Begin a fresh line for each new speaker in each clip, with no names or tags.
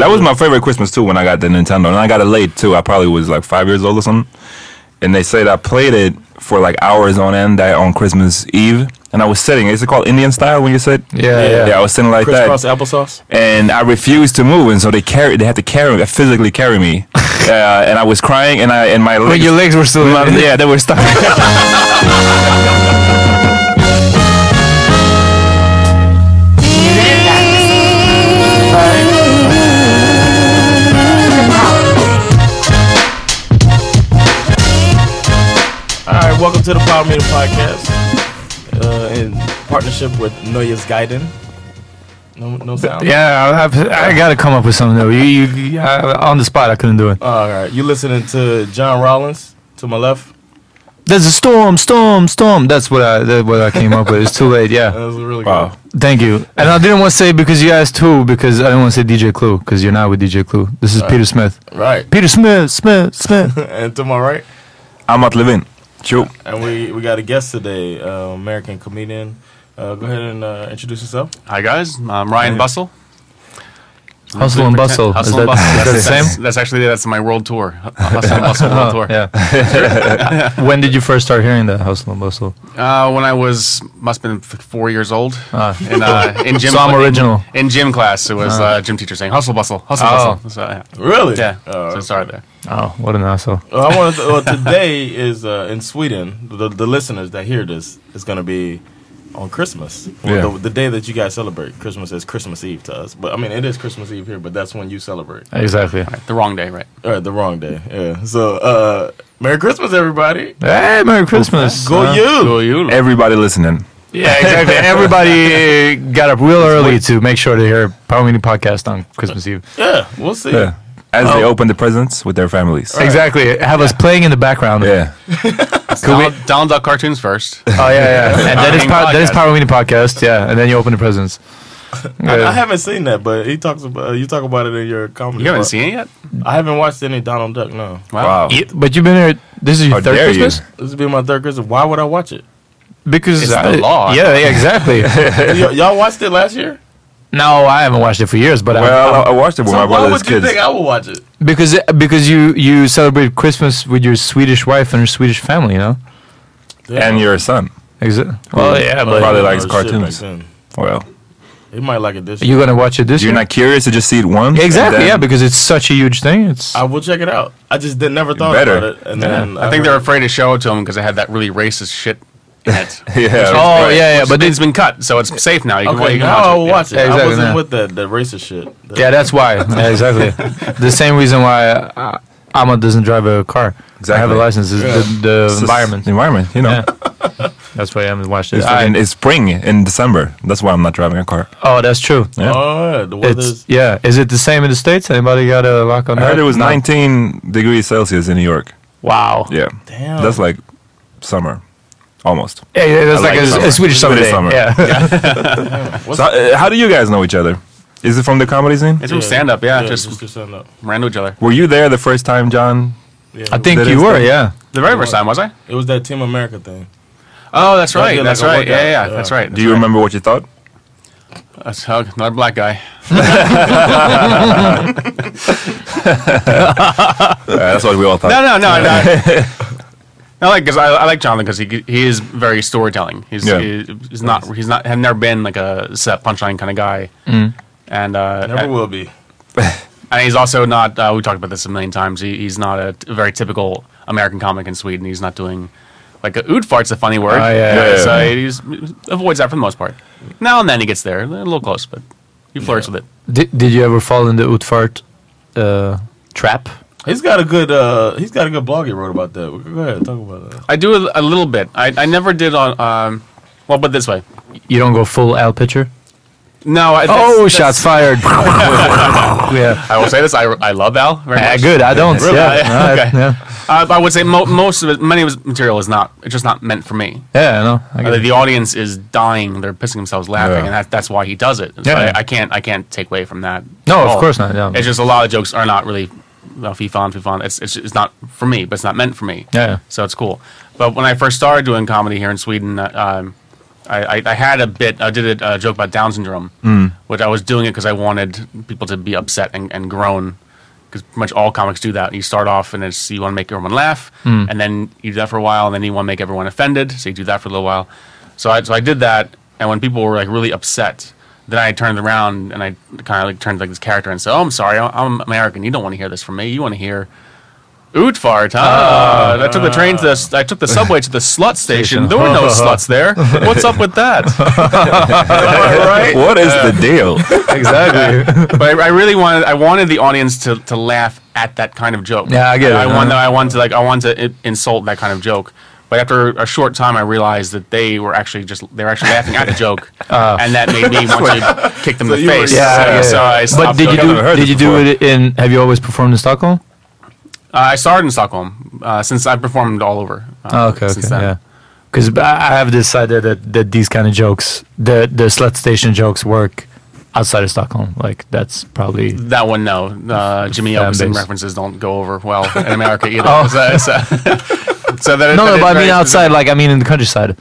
That was my favorite Christmas too when I got the Nintendo, and I got it late too. I probably was like five years old or something. And they said I played it for like hours on end that on Christmas Eve, and I was sitting. Is it called Indian style when you sit?
Yeah, yeah.
I was sitting like
Crisscross
that,
applesauce.
and I refused to move, and so they carry. They had to carry physically carry me, uh, and I was crying, and I and my legs.
your legs were still in
my-
it.
yeah, they were stuck.
All right, welcome to the Power Meter Podcast uh, in partnership with Noya's Gaiden. No, no sound.
Yeah, I, have, I gotta come up with something though. You, you I, on the spot, I couldn't do it.
All right, you listening to John Rollins to my left?
There's a storm, storm, storm. That's what I that's what I came up with. It's too late. Yeah,
That was really
Wow.
thank you. And I didn't want to say because you asked who because I didn't want to say DJ Clue because you're not with DJ Clue. This is Peter Smith.
good. Right,
Peter Smith, Smith, Smith.
and to my right,
I'm not living. Sure.
and we we got a guest today, uh, American comedian. Uh, go ahead and uh, introduce yourself.
Hi guys, I'm Ryan Bustle.
Hustle and bustle.
Hustle
is
and
that,
Bustle.
is that the
That's,
same?
that's, that's actually that's my world tour. Hustle and Bustle world tour.
Yeah. when did you first start hearing that hustle and bustle?
Uh, when I was must have been f- four years old,
Ah.
in, uh, in gym
So I'm
cla-
original. Ah.
In, in gym class, it was uh, gym teacher saying "Hustle Bustle, Hustle
Oh.
Bustle." So, yeah,
Really?
yeah.
Uh,
so sorry there.
Oh, what an asshole.
Well, Uh, I want to. Well, today is uh, in Sweden. The, the listeners that hear this is going to be on Christmas, Well,
Yeah.
the, the day that you guys celebrate. Christmas is Christmas Eve to us, but I mean it is Christmas Eve here. But that's when you celebrate.
Exactly.
The wrong day, right?
Uh,
All right, the wrong day. Yeah. So, uh, Merry Christmas, everybody.
Hey, Merry Christmas.
Go
Uh,
you.
Well, you
Everybody listening.
Yeah, exactly. Everybody got up real early to make sure to hear Power Meeting Podcast on Christmas Eve.
Yeah, we'll see.
Yeah.
as they open the presents with their families.
Exactly. Have us playing in the background.
Yeah.
Donald, Donald Duck cartoons first.
Oh yeah, yeah. And that is
Hanging
power, that is
podcast.
Power Weenie podcast. Yeah, and then you open the presents.
I, I haven't seen that, but he talks about you talk about it in your comedy.
You haven't
part.
seen it yet?
I haven't watched any Donald Duck. No,
Wow.
Yeah, But you've been here. This is your
How
third
dare you.
Christmas
this would be my third Christmas. Why would I watch it?
because
It's
I-
the law.
Yeah, yeah, exactly.
Y- y'all watched it last year.
no, I haven't watched it for years, but I,
Well, I, I watched it with
So
my
why
brother's
would you
kids.
think I would watch it?
because because you you celebrate Christmas with your Swedish wife and her Swedish family, you know.
and your son.
Exa- well, yeah, but
Probably
Oh,
likes
shit,
cartoons.
back then.
Well,
He might like it this year.
you're gonna watch it this
you're
year.
not curious to just see it once.
exactly.
and
yeah,
then-
because it's such a huge thing. It's
I will check it out. I just did, never thought
better.
about it. And then
I think they're
heard-
afraid to show it to him because it had that really racist shit in it.
yeah.
oh yeah, yeah, but
but it's been cut, so it's safe now. You can,
Okay,
you can
now I will
watch
"Oh, watch it.
it.
Yeah, exactly,
I wasn't
yeah.
with that the racist shit. The-
yeah, that's why. Yeah, exactly. the same reason why uh, Ahmad doesn't drive a car. I have a
Exactly.
license. It's the, the
It's just
environment.
the environment, you know.
Yeah. That's why I haven't watched it.
It's,
I-
fucking- it's spring in December. That's why I'm not driving a car.
oh, that's true.
Yeah.
Oh, yeah, the
It's
weather's
yeah. Is it the same in the states? Anybody got a lock on
I
that?
heard it was
No.
19 degrees Celsius in New York.
Wow.
Yeah.
Damn.
That's like summer, almost.
Yeah, yeah, that's
I
like,
like
a,
summer.
a Swedish summer. day.
Swedish summer.
Yeah.
So, uh, how do you guys know each other? Is it from the comedy scene?
It's from stand up, yeah. just,
just stand up.
ran to each other.
Were you there the first time, John?
Yeah,
I
it
think
That
you
is
were.
the-
Yeah.
The very first time, was I?
was- it was that Team America thing.
Oh, that's right.
did, like,
That's
a
right.
workout.
Yeah, yeah,
Yeah.
that's right.
Do you remember what you thought?
That's hug. Another black guy.
Uh, that's what we all thought.
No, no, no, no. No, like because I, I like Jonathan because he he is very storytelling. He's
Yeah.
he, he's not he's not have never been like a set punchline kind of guy, and uh,
Never will be.
and he's also not. Uh, we talked about this a million times. He, he's not a t- very typical American comic in Sweden. He's not doing like a ood fart's a funny word.
Oh, yeah, yeah,
so
yeah.
he's avoids that for the most part. Now and then he gets there, a little close, but he flirts with it.
Did Did you ever fall in the Utfart uh, trap?
He's got a good uh he's got a good blog he wrote about that. We- Go ahead, talk about that.
I do a, a little bit. I, I never did on. Um, well, but this way.
You don't go full Al pitcher.
No. I, that's-
oh,
that's-
shots fired. yeah.
I will say this. I, I love Al. Very
Ah,
much.
good. I don't.
Really?
Yeah.
Yeah,
No, I-
okay.
Yeah.
Uh, but I would say mo- most of it, many of his material is not. It's just not meant for me.
Yeah. No. I
Uh,
get it.
the audience is dying. They're pissing themselves laughing,
Yeah.
and that, that's why he does it. So
Yeah.
I, I can't. I can't take away from that.
No,
at
of
all.
course not, yeah.
It's just a lot of jokes are not really well, fifon fifon. It's, it's it's not for me, but it's not meant for me.
Yeah, yeah.
So it's cool. But when I first started doing comedy here in Sweden, uh, um, I, I, I had a bit. I did a, a joke about Down syndrome,
Mm.
which I was doing it because I wanted people to be upset and, and groan. Because pretty much all comics do that. You start off and it's, you want to make everyone laugh, and then you do that for a while, and then you want to make everyone offended, so you do that for a little while. So I, so I did that, and when people were like really upset, then I turned around and I kind of like turned like this character and said, "Oh, I'm sorry, I- I'm American. You don't want to hear this from me. You want to hear." Oot fart, huh? I took the train to the, s- I took the subway to the slut station. There were no sluts there. What's up with that? right?
What is the deal?
Exactly.
but I, I really wanted I wanted the audience to, to laugh at that kind of joke.
Yeah, I get it. uh-huh.
I wanted I wanted to like I wanted to i- insult that kind of joke. But after a short time, I realized that they were actually just they were actually laughing at the joke,
Uh,
and that made me want to kick them in the face.
Yeah,
so,
yeah,
so I
but
stopped
did you
doing it.
do? Did you do it in? Have you always performed in Stockholm?
Uh, I started in Stockholm uh, since I performed all over. Uh,
Oh, okay, okay,
since then.
yeah. Because I I have this idea that, that these kind of jokes, the the slut station jokes, work outside of Stockholm. Like that's probably
That one, no. Uh, Jimmy
Fan
Olsen
base.
references don't go over well in America either. So, so,
Oh. no,
so that, that
no.
is
But I
very
mean outside,
specific.
like I mean in the countryside.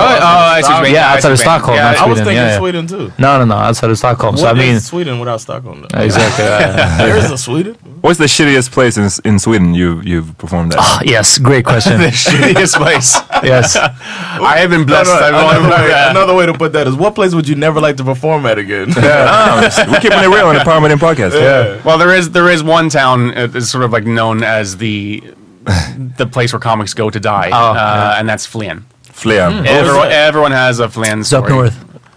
Oh, oh, I see what you mean.
Yeah, outside
I see what
of
you mean.
Stockholm,
Yeah,
not
I-
I
Sweden.
was thinking
yeah, yeah.
Sweden too.
No, no, no. Outside of Stockholm. so I
What is
mean,
Sweden without Stockholm though?
exactly. yeah.
There is a Sweden.
What's the shittiest place in, S- in Sweden you, you've performed at?
yes, great question.
shittiest place.
yes,
I have been blessed. I've
another,
only-
way,
yeah.
another way to put that is what place would you never like to perform at again?
We're keeping it real on the Parliament podcast. Yeah.
Well, there is there is one town uh, that's sort of like known as the the place where comics go to die,
Oh,
uh, and that's Flynn.
Flea.
Hmm.
Everyone, everyone has a Flynn
it's up
story.
north.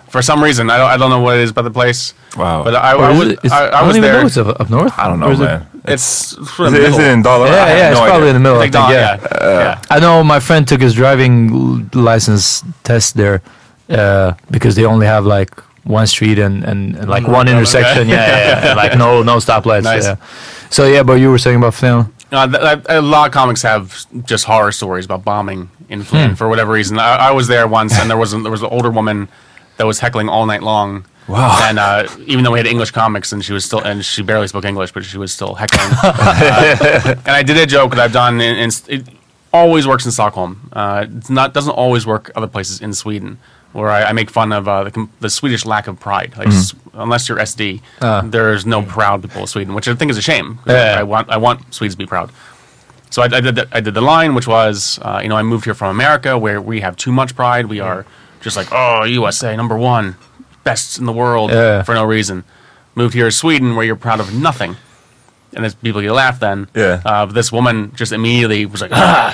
For some reason, I don't, I don't know what it is about the place.
Wow.
But I,
Or
I
is
was,
it- it's-
I, I was
don't even
there.
know it's up, up north.
I don't know,
Or is it-
man.
It's sort
Is
of
it, is
middle.
it in dollar? I
Yeah,
have
yeah. It's
no
probably in
idea.
the middle. I
Like
think,
Don,
yeah. Uh,
yeah. yeah.
I know my friend took his driving l- license test there uh, because they only have like one street and, and, and like one intersection. Yeah, yeah, yeah, yeah. like no no stoplights.
Mm, Nice.
Yeah. So yeah, but you were saying about film.
Uh, th- th- a lot of comics have just horror stories about bombing in Flynn for whatever reason. I, I was there once, and there was an, there was an older woman that was heckling all night long.
Wow.
And uh, even though we had English comics, and she was still and she barely spoke English, but she was still heckling. Uh, and I did a joke that I've done, in, in, it always works in Stockholm. Uh, it's not doesn't always work other places in Sweden, where I, I make fun of uh, the, com- the Swedish lack of pride.
Mm-hmm.
Like, s- unless you're SD, there's no proud people in Sweden, which I think is a shame.
Ah.
'cause
Yeah.
I want I want Swedes to be proud. So I, I did the, I did the line, which was, uh, you know, I moved here from America, where we have too much pride. We are just like, oh, USA number one, best in the world
Yeah.
for no reason. Moved here to Sweden, where you're proud of nothing, and as people get laughed then.
Yeah.
Uh, but this woman just immediately was like, ah,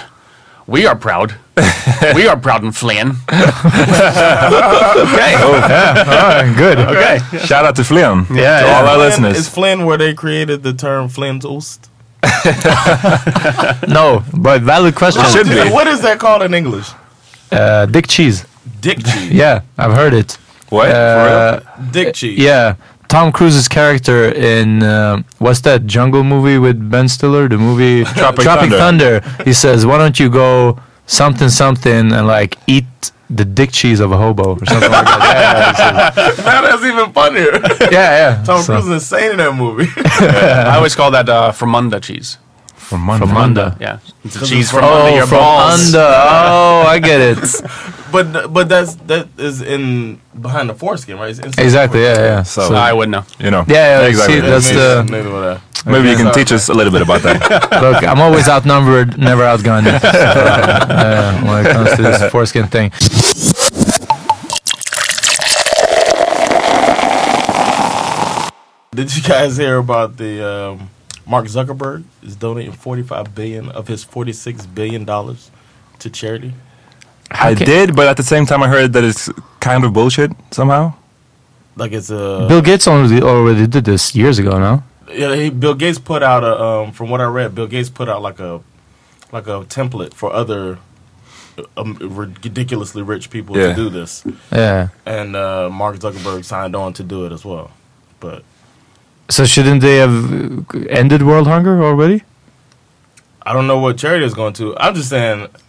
we are proud. we are proud in Flynn. okay.
Oh, Alright, good.
Okay.
Shout out to Flynn.
Yeah,
to
yeah.
all our
Flynn- Is
listeners.
Flynn where they created the term Flynn's Oost?
No, but valid question.
It should be.
What is that called in English?
Uh, dick cheese.
Dick cheese.
Yeah, I've heard it.
What?
Uh,
For real?
Dick cheese.
Yeah, Tom Cruise's character in uh, what's that jungle movie with Ben Stiller? The movie
Tropic
Thunder.
Thunder.
He says, "Why don't you go something something and like eat the dick cheese of a hobo or something like that?"
Now that's even funnier.
Yeah, yeah. yeah.
Tom
So-
Cruise is insane in that movie.
I always call that uh, fromunda cheese.
From Monday.
Fromunda.
Yeah. It's a cheese from under
Oh,
your
from
balls.
under. Oh, I get it.
but but that's that is in behind the foreskin, right? It's inside the
Exactly. Yeah, yeah.
So-
So,
I wouldn't know.
You know.
Yeah, yeah,
exactly.
see, that's uh,
foreskin.
the-
Maybe whatever.
Maybe you can teach us a little bit about that.
look, I'm always outnumbered, never outgunned. So, uh, when it comes to this foreskin thing.
Did you guys hear about the um, Mark Zuckerberg is donating 45 billion of his 46 billion dollars to charity?
I did, but at the same time, I heard that it's kind of bullshit somehow.
Like it's a
Bill Gates already, already did this years ago, no?
yeah. He, Bill Gates put out a um, from what I read, Bill Gates put out like a like a template for other um, ridiculously rich people
Yeah.
to do this,
Yeah.
and uh, Mark Zuckerberg signed on to do it as well. But
So shouldn't they have uh, ended world hunger already?
I don't know what charity is going to. I'm just saying, that's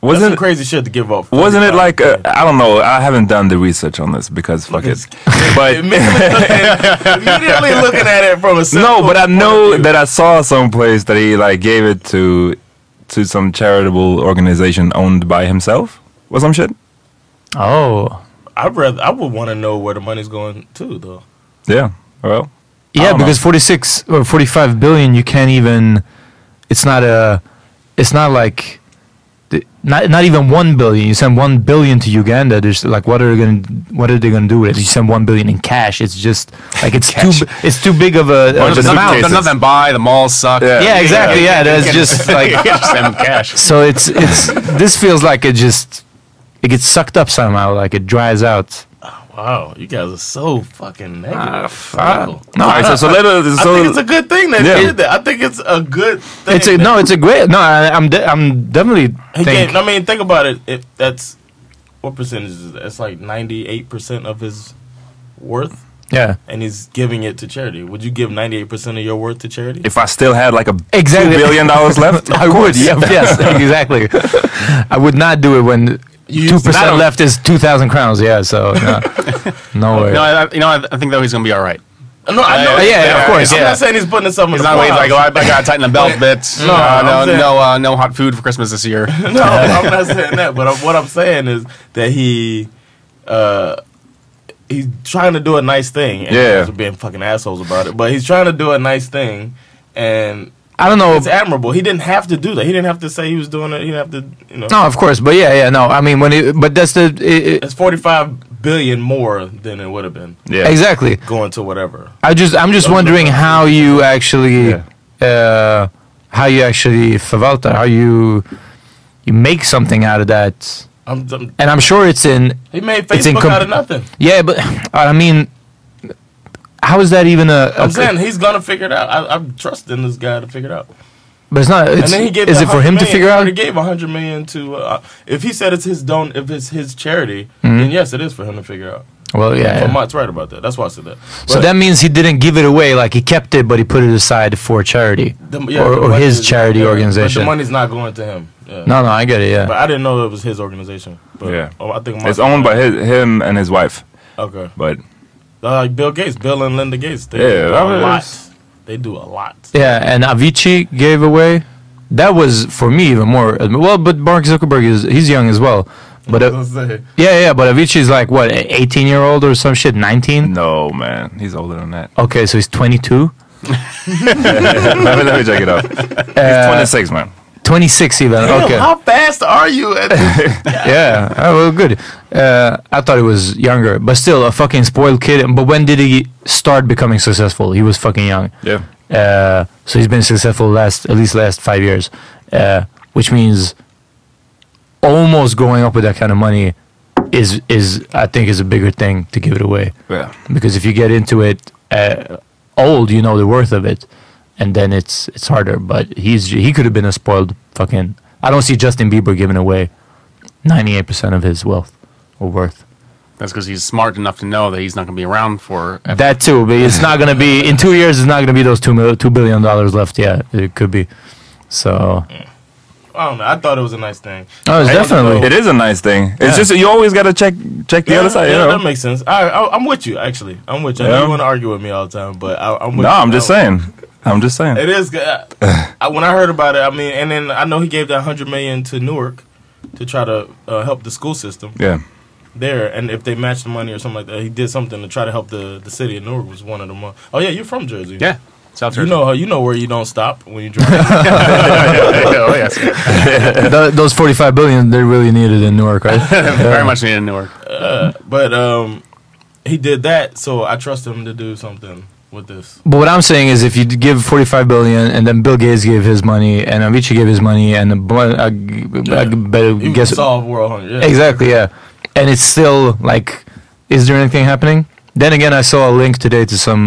some
Wasn't
crazy shit to give up.
wasn't it
45
like uh,
billion.
I don't know? I haven't done the research on this because fuck it. But
immediately looking at it from a
no, but I know
view.
that I saw someplace that he like gave it to to some charitable organization owned by himself or some shit.
Oh.
I'd rather I would want to know where the money's going to though.
Yeah. Well.
Yeah,
don't know.
because 46 or 45 billion you can't even it's not a it's not like the- not not even 1 billion. You send 1 billion to Uganda, there's like what are they going to what are they going to do with it? You send 1 billion in cash. It's just like it's too
Cash.
b- it's too big of a,
Or
of
just
an
in
amount.
case.
There's nothing to buy. The malls suck.
Yeah.
Yeah, exactly. Yeah, there's just like
Just them cash.
So it's it's this feels like it just it gets sucked up somehow, like it dries out.
Wow, you guys are so fucking
Ah,
negative. Wow.
No. All right, so, so let us.
I
So,
think it's a good thing that
Yeah.
he did that. I think it's a good thing.
It's a
that
no, it's a great no. I, I'm de- I'm definitely
he
think
gave- I mean, think about it. If that's what percentage is that? It's like ninety eight percent of his worth,
yeah
and he's giving it to charity. Would you give ninety eight percent of your worth to charity?
if I still had like a
exactly
two billion dollars left,
I would yeah, yes exactly. I would not do it when
You-
two
not
percent
a-
left is two thousand crowns. Yeah, so no, no way.
No, I, I- you know, I, I think though he's gonna be all right.
no, I know.
Uh, yeah, yeah, of course,
I'm
yeah.
not saying he's putting himself in
He's
the
not waiting
poorhouse.
like, oh, I, I gotta tighten the belt bits. No,
I'm
uh, no,
saying-
no, uh, no hot food for Christmas this year.
No, I'm not saying that. But I'm, what I'm saying is that he, uh, he's trying to do a nice thing. And
Yeah.
he's being fucking assholes about it. But he's trying to do a nice thing, and
I don't know.
it's admirable. He didn't have to do that. He didn't have to say he was doing it. He didn't have to, you know.
No, of course, but yeah, yeah, no. I mean, when it, but that's the it, it,
It's 45 billion more than it would have been
yeah.
exactly.
going to whatever.
I just I'm just wondering how you actually uh, how you actually Favalta, how you you make something out of that.
I'm, I'm,
And I'm sure it's in
he made
It's
Facebook
incom-
out of nothing.
yeah, but I mean how is that even a? a-
I'm saying he's gonna figure it out. I, I'm trusting this guy to figure it out.
but it's not it's,
and then he gave
is
the
it for him
100
to
million.
figure
He
out?
already gave 100 million to uh, if he said it's his don if it's his charity then yes it is for him to figure out
Well, Mm-hmm. yeah.
So Mott's right about that. That's why I said that.
So
But
that means he didn't give it away. Like he kept it, but he put it aside for charity
the- yeah,
or,
the
or
money
his
is-
charity
yeah, But
organization.
the money's not going to him. Yeah.
no, no, I get it. Yeah.
But I didn't know it was his organization. But
Yeah.
oh, I think
It's owned by his, him and his wife,
Okay. uh,
but
Like Bill Gates, Bill and Linda Gates. They
Yeah,
do
that
a
was-
lot. They do a lot.
Yeah, and Avicii gave away. That was for me even more. Well, but Mark Zuckerberg is he's young as well. But uh,
Say,
yeah, yeah, but Avicii's like what, a- 18 year old or some shit, 19?
no, man, he's older than that.
Mm.
Okay, so he's 22,
let, me, let me check it out. He's
Uh,
26, man.
26 even. okay,
How fast are you? At
yeah, oh, well, good. Uh, I thought he was younger, but still a fucking spoiled kid. But when did he start becoming successful? He was fucking young.
Yeah.
Uh, so he's been successful last at least last five years, uh, which means almost going up with that kind of money is is I think is a bigger thing to give it away
Yeah.
because if you get into it uh, old, you know the worth of it, and then it's it's harder. But he's he could have been a spoiled fucking. I don't see Justin Bieber giving away ninety eight percent of his wealth or worth.
That's because he's smart enough to know that he's not going to be around for.
That too, but it's not gonna be in two years. It's not gonna be those two mil- two billion dollars left. Yeah, it could be. So
I don't know. I thought it was a nice thing.
Oh, it's
I don't
definitely-
know.
It is a nice thing. It's just you always gotta check check the
Yeah,
other side.
yeah,
you know?
that makes sense. I, I, I'm with you, actually. I'm with you. I know
Yeah.
you want to argue with me all the time, but I, I'm with
no,
you.
I'm just
I-
saying. I'm just saying.
It is good. I, I- when I heard about it, I mean, and then I know he gave that hundred million to Newark to try to uh, help the school system
Yeah.
there, and if they matched the money or something like that, he did something to try to help the, the city of Newark was one of them. uh, Oh yeah, you're from Jersey.
Yeah, South
You
Jersey.
know, you know where you don't stop when you drive.
oh, yes.
th- those forty five billion they really needed in Newark, right?
Very much needed in Newark.
but um, he did that, so I trust him to do something with this.
But what I'm saying is, if you give 45 billion, and then Bill Gates gave his money, and Avicii gave his money, and a bl- I, g- I g- better
You
guess
can solve world hunger. Yeah.
exactly, yeah. And it's still like, is there anything happening? Then again, I saw a link today to some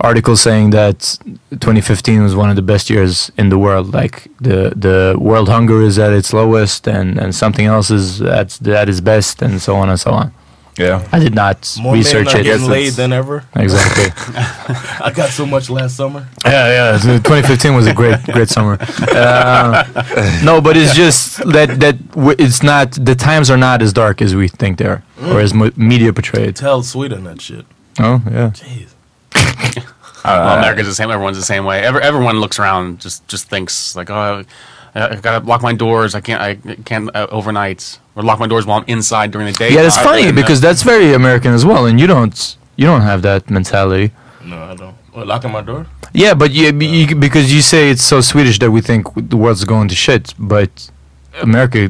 article saying that 2015 was one of the best years in the world. Like the the world hunger is at its lowest, and and something else is at at its best, and so on and so on.
Yeah.
I did not
More
research
men are
it.
getting laid than ever.
Exactly.
I got so much last summer.
Yeah, yeah. so 2015 was a great, great summer. Uh, no, but it's just that that w- it's not the times are not as dark as we think they are, or as mo- media portrayed.
Tell Sweden that shit.
Oh, yeah.
Jeez.
Well, America's the same. Everyone's the same way. Every, everyone looks around, just just thinks like, oh, I, I gotta lock my doors. I can't. I can't uh, overnight or lock my doors while I'm inside during the day.
Yeah, that's
I-
funny
and, uh,
because that's very American as well, and you don't you don't have that mentality.
No, I don't. What, locking my door?
Yeah, but you, you because you say it's so Swedish that we think the world's going to shit, but America.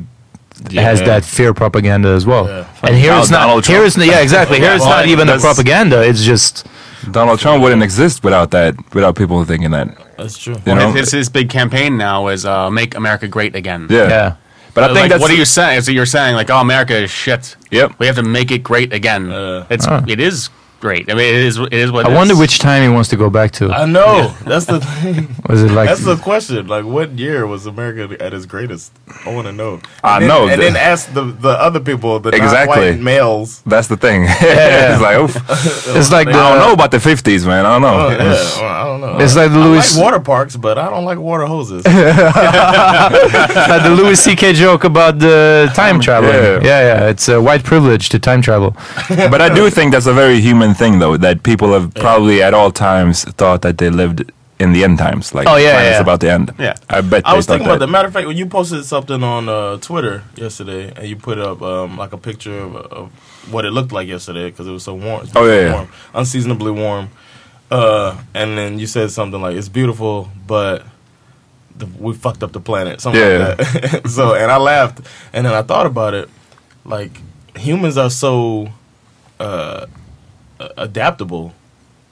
Has
Yeah.
that fear propaganda as well,
Yeah.
and here it's
Donald
not. Here
Trump.
it's n- yeah, exactly. Here it's
Well,
not even the
that's-
propaganda. It's just
Donald Trump wouldn't exist without that. Without people thinking that.
That's true.
You know.
It's this big campaign now is uh, make America great again.
yeah.
yeah.
But I think
like,
that's
what are you saying? So you're saying like, oh, America is shit.
Yep.
We have to make it great again.
Uh,
it's it is great. I mean, it is it is what.
I
it
wonder
is.
which time he wants to go back to.
I know. That's the thing.
Was it like
That's the question. Like, what year was America at its greatest? I want to know. And
I
then-
know
And then
that-
ask the, the other people, the
Exactly.
non-white males.
That's the thing. it's like, oof.
it's like the,
I don't know about the 50s, man. I don't know.
Oh, yeah, well, I don't know.
It's like the
I
Louis-
like water parks, but I don't like water hoses.
like the Louis C.K. joke about the time travel. Yeah.
Oh, yeah.
yeah, It's uh, white privilege to time travel.
but I do think that's a very human thing, though, that people have probably at all times thought that they lived in the end times. Like,
Oh, yeah,
the planet's
yeah.
about the end.
Yeah.
I bet
I
they
was
thought
thinking about
that.
that. Matter of fact, when you posted something on uh, Twitter yesterday, and you put up um, like a picture of, of what it looked like yesterday because it was so warm. it's
Oh,
been so
yeah, yeah.
warm, unseasonably warm. Uh, and then you said something like, "It's beautiful, but the, we fucked up the planet." Something
Yeah.
like that. so, and I laughed, and then I thought about it. Like humans are so uh, a- adaptable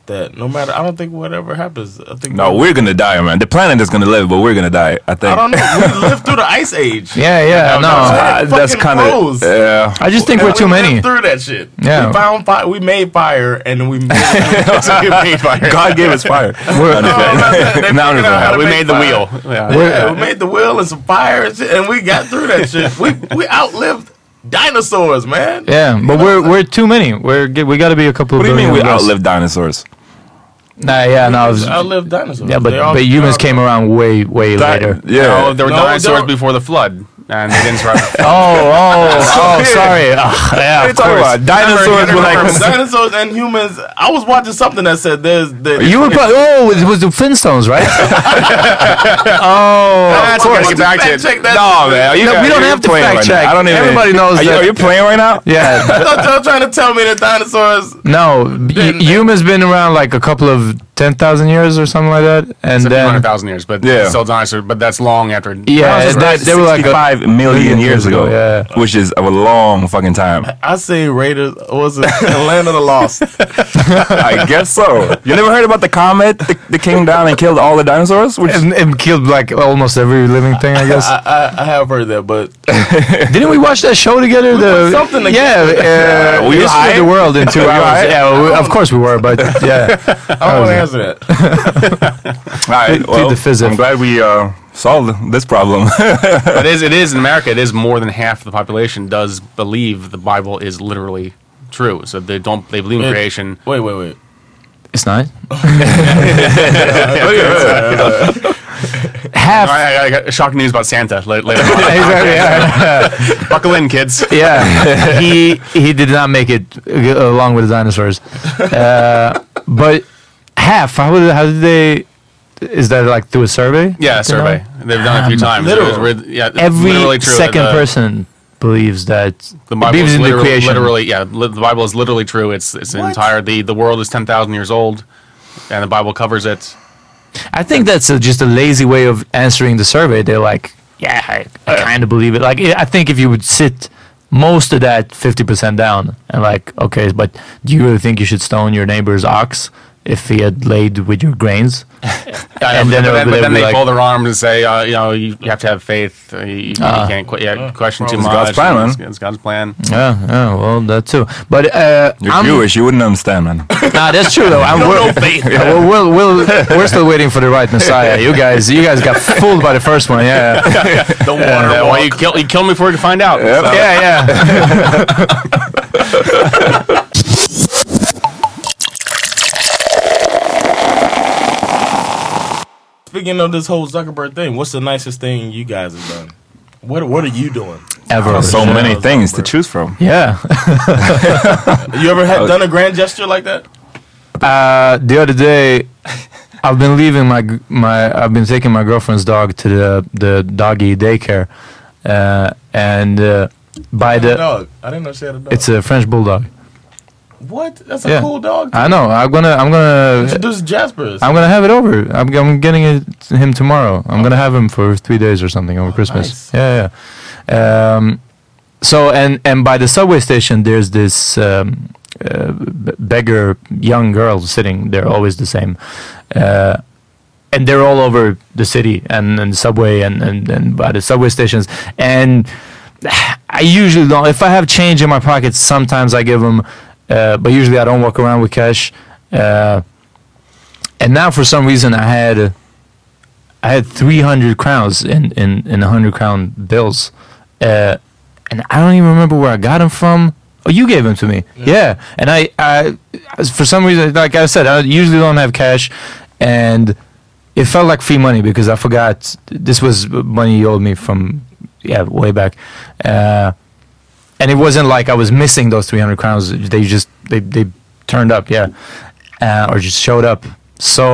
that no matter, I don't think whatever happens, I think
No, we're gonna die, man. The planet is gonna live, but we're gonna die. I think.
I don't know. We lived through the ice age.
Yeah, yeah. No,
Uh, that's
Fucking
kind of
froze.
yeah.
I just think we're too
we lived
many.
Through that shit.
Yeah.
We found fire. We made fire, and then we made, we made fire.
God gave us fire.
We're,
They
Now
figured out how to
we made
make
the
fire.
wheel.
uh,
Yeah.
Yeah, we made the wheel and some fire and shit, and we got through that shit. We we outlived dinosaurs, man.
Yeah, but we're we're too many. We're g- we got to be a couple of
What do you mean
billion
we
of us.
outlived dinosaurs?
Nah, yeah, no, I was,
Outlive dinosaurs.
yeah, but
They all-
but humans
they all-
came around way way
Di-
later.
Yeah.
No, there were
No,
dinosaurs
don't-
before the flood, and they didn't survive.
Oh, oh, oh, sorry. Ah, yeah,
What are you
of
talking
course.
about? Dinosaurs were
Remember,
like.
dinosaurs and humans. I was watching something that said there's the
You were probably oh, it was the Flintstones, right? oh,
Of course.
Get back to it. Check that.
No, man. are you
No,
guys-
we don't
you're
have to
playing
fact
right now.
check.
I don't even.
Everybody knows
Are you,
that-
are you playing right now?
yeah.
Don't y'all trying to tell me that dinosaurs?
No, y- humans been around like a couple of ten thousand years or something like that, and
It's a few
then
hundred thousand years, but
Yeah.
still dinosaur. But that's long after.
yeah,
Dinosaurs
they,
died
they were like a,
65 million years ago,
yeah.
which is a long fucking time.
I say Raiders was it Land of the Lost.
I guess so. You never heard about the comet that, that came down and killed all the dinosaurs? Which
and, and killed like almost every living thing, I guess.
I, I have heard that, but
Didn't we watch that show together? the
something together.
yeah, uh,
Were you
History
high?
of the World in two
Were you
hours.
high?
Yeah, we, of course we were, but yeah,
I don't want to answer that.
all right, well,
the physics.
I'm glad we uh, solved this problem.
But it is, it is in America. It is more than half the population does believe the Bible is literally true. So they don't. They believe in
It-
creation.
Wait, wait, wait.
it's not
All
half.
right, I, I got shocking news about Santa la- later.
Exactly, yeah.
Buckle in, kids.
yeah, he he did not make it uh, along with the dinosaurs, uh, but half. How did how did they? Is that like through a survey?
Yeah,
Do you know?
survey. They've done it a few times. It was rid- yeah, it's
Um, Every
literally true that
second
the-
person believes that
The Bible
believes
is
in the
literally,
creation.
literally, yeah. Li- the Bible is literally true. It's it's an entire the the world is ten thousand years old, and the Bible covers it.
I think that's a, just a lazy way of answering the survey. They're like, yeah, I, I kind of believe it. Like, I I think if you would sit most of that 50% down and like, okay, but do you really think you should stone your neighbor's ox if he had laid with your grains?
and
then
then,
it'll-
but then, but
it'll
then
be
they
like-
fold their arms and say, uh, you know, you, you have to have faith. uh, You, you can't qu-
Ah,
yeah, question too
It's
much.
God's plan, man.
It's, it's God's plan.
Yeah, yeah, well, that too. But uh,
You're
I'm-
Jewish, you wouldn't understand, man.
Nah, that's true though. I'm, we're, yeah, we're, we're, we're, we're still waiting for the right Messiah. You guys, you guys got fooled by the first one. Yeah, yeah,
The water
Yeah, well,
walk.
you kill you kill me before you can find out. So-
yeah. yeah.
Speaking of this whole Zuckerberg thing, what's the nicest thing you guys have done? What What are you doing?
Ever.
So
Yeah.
many things to choose from.
Yeah.
You ever
Oh.
had done a grand gesture like that?
Uh, the other day, I've been leaving my g- my I've been taking my girlfriend's dog to the the doggy daycare, uh, and uh, by the
Dog. I didn't know she had a dog.
it's a French bulldog.
what? That's a
yeah.
cool dog.
I know. I'm gonna I'm gonna
Introduce Jasper's.
I'm gonna have it over. I'm I'm getting it, him tomorrow. I'm gonna have him for three days or something over Christmas.
nice.
Yeah, yeah. Um, so and and by the subway station, there's this um, uh, b- beggar young girl sitting. They're always the same. Uh, and they're all over the city and, and subway and, and, and by the subway stations. And I usually don't. If I have change in my pocket, sometimes I give them, uh, but usually I don't walk around with cash. Uh, and now for some reason I had, I had 300 crowns in in in 100 crown bills, uh, and I don't even remember where I got them from. Oh, you gave them to me. Yeah. And I, I, as- for some reason, like I said, I usually don't have cash, and it felt like free money because I forgot this was money you owed me from, yeah, way back. Uh, and it wasn't like I was missing those 300 crowns. They just they they turned up, yeah, uh, or just showed up. So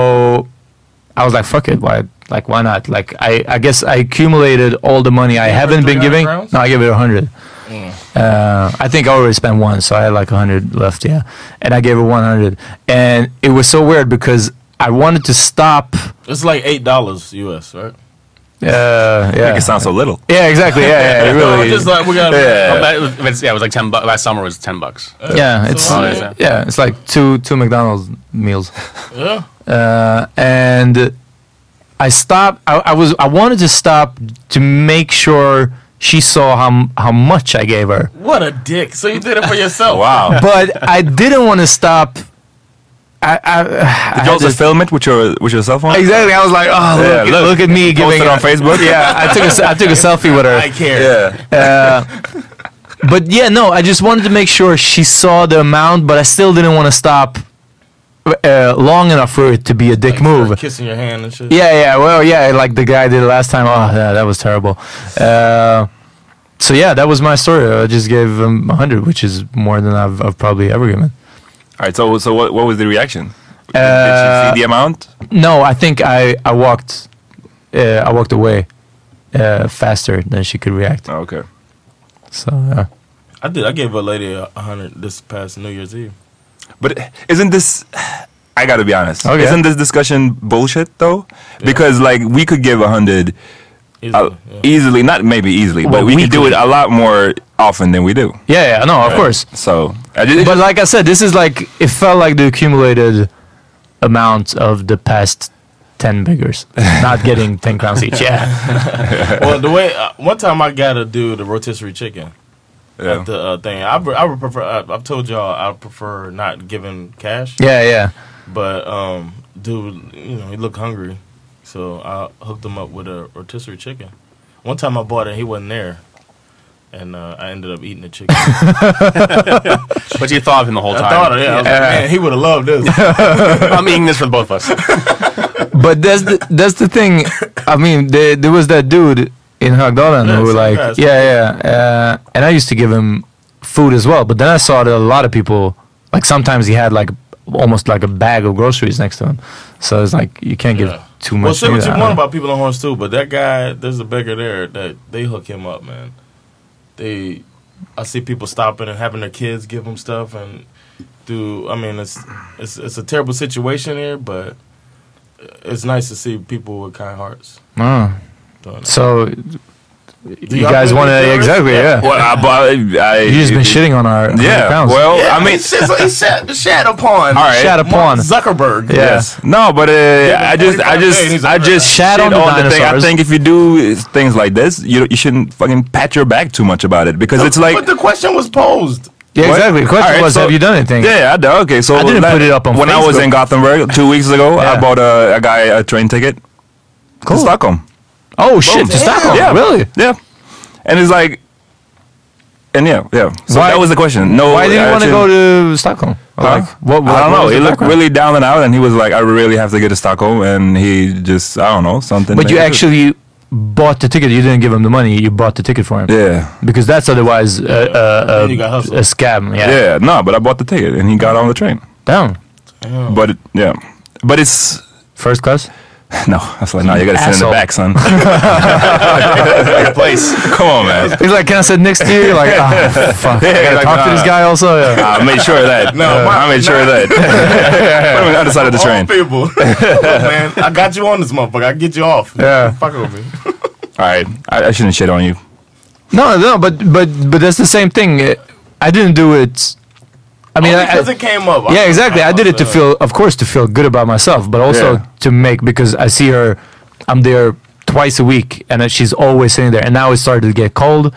I was like, fuck it, why? Like, why not? Like, I I guess I accumulated all the money I haven't been
300
giving.
crowns? Mm.
No, I gave it 100. Uh, I think I already spent one, so I had like 100 left, yeah, and I gave her 100, and it was so weird because I wanted to stop.
It's like eight dollars US, right?
Uh, yeah.
Make it sound so little.
Yeah, exactly. Yeah, yeah, it
No,
really.
just like we got.
Oh, but it was- but it's- yeah, it was like ten bucks. Last summer was ten bucks.
Uh,
yeah, it's
So,
yeah.
yeah, it's like two two McDonald's meals.
Yeah.
Uh, and I stopped. I, I was I wanted to stop to make sure she saw how m- how much I gave her,
What a dick. So you did it for yourself.
Wow.
but I didn't want to stop. I, I,
Did you also film it with your with your cell phone?
exactly. I was like, oh
Yeah,
look, look,
look.
at me
Post
giving
it on
her-
Facebook?
Yeah, I took a, s- I took a selfie with her.
I care.
Yeah.
but yeah, no, I just wanted to make sure she saw the amount, but I still didn't want to stop uh, long enough for it to be a dick move.
Kissing your hand and shit.
Yeah, yeah. Well, yeah, like the guy did last time. Oh, yeah, that was terrible. Uh, so yeah, that was my story. I just gave him 100, which is more than I've, I've probably ever given.
All right. So so what what was the reaction?
Uh,
Did- Did she see the amount?
No, I think I I walked uh, I walked away uh, faster than she could react.
Oh, okay.
So yeah.
I did. I gave a lady a hundred this past New Year's Eve.
But isn't this? I gotta be honest.
Okay.
Isn't this discussion bullshit though? Because like we could give a hundred uh,
Oh.
Easily, yeah.
easily, not maybe easily,
Well,
but we,
we
could do
could.
it a lot more often than we do.
yeah, yeah, no, of course.
So, I just,
But like I said, this is like it felt like the accumulated amount of the past ten beggars not getting ten crowns each. Yeah,
well, the way uh, one time I got to do the rotisserie chicken.
yeah.
The uh, thing I, pre- I would prefer. I, I've told y'all I prefer not giving cash.
yeah, yeah.
But um, dude, you know he looked hungry, so I hooked him up with a rotisserie chicken. One time I bought it, he wasn't there, and uh, I ended up eating the chicken. I
But you thought of him the whole time.
thought, yeah, I was like, man, he would have loved this.
I'm eating this for both of us.
But that's the that's the thing. I mean, there there was that dude in Hagdalan
Yeah,
who
some
like
guys.
yeah yeah, uh, and I used to give him food as well. But then I saw that a lot of people like sometimes he had like almost like a bag of groceries next to him. So it's like you can't give
Yeah.
too
Well,
much.
say what
neither.
you
I
want
don't-
about people in horns too, but that guy, there's a beggar there that they hook him up, man. They, I see people stopping and having their kids give him stuff and do. I mean, it's it's it's a terrible situation here, but it's nice to see people with kind hearts.
Oh.
Doing that.
So you
y'all
guys want
really feel
to
it?
exactly yeah.
Well, I, but I,
You just been shitting on our
Yeah.
pounds.
Well, Oh, I mean,
It's like shat, shat upon
all right.
shat upon.
Zuckerberg.
Yeah.
No, but uh, I just, I
45
just,
days,
I just
Shat on
shit
the
thing. I
dinosaurs.
think if you do things like this, you you shouldn't fucking pat your back too much about it because it's like
but the question was posed.
Yeah,
What?
exactly. The question
All right,
was,
so-
have you done anything?
Yeah, I did. Okay, so
I didn't
like,
put it up on
when I was
Facebook.
in Gothenburg two weeks ago. I
Yeah.
bought a, a guy a train ticket
Cool.
to Stockholm.
Oh shit, to Stockholm.
Yeah,
Really?
Yeah, and it's like, and yeah, yeah. So
Why-
that was the question. No,
Why didn't you want to
actually-
go to Stockholm?
Huh?
Like, what, what,
I don't
what
know.
was
He
the
looked
background?
really down and out, and he was like, "I really have to get to Stockholm," and he just, I don't know, something.
But you
made it.
actually bought the ticket. You didn't give him the money. You bought the ticket for him.
yeah.
Because that's otherwise uh, uh,
Then you got
uh,
hustled.
a scam. Yeah.
Yeah, no, but I bought the ticket and he got on the train.
Down.
But it, yeah, but it's
First class.
no. I was like, no, you gotta sit in the
Asshole.
back, son. place. Come on, man.
He's like, can I sit next to you? You're like, oh, fuck. I
Yeah,
gotta
like,
talk to
nah.
this guy also. Yeah.
I made sure of that. No, I made sure of that. Put him on the other side of the
All
train.
people, Look, man, I got you on this motherfucker. I get you off.
Yeah.
fuck with me.
All right, I, I shouldn't shit on you.
No, no, but but but that's the same thing. Uh, I didn't do it. I mean, I,
because
I-
it came up.
yeah, exactly. I did it to
Yeah.
feel, of course, to feel good about myself, but also
Yeah.
to make because I see her. I'm there twice a week, and then she's always sitting there. And now it started to get cold,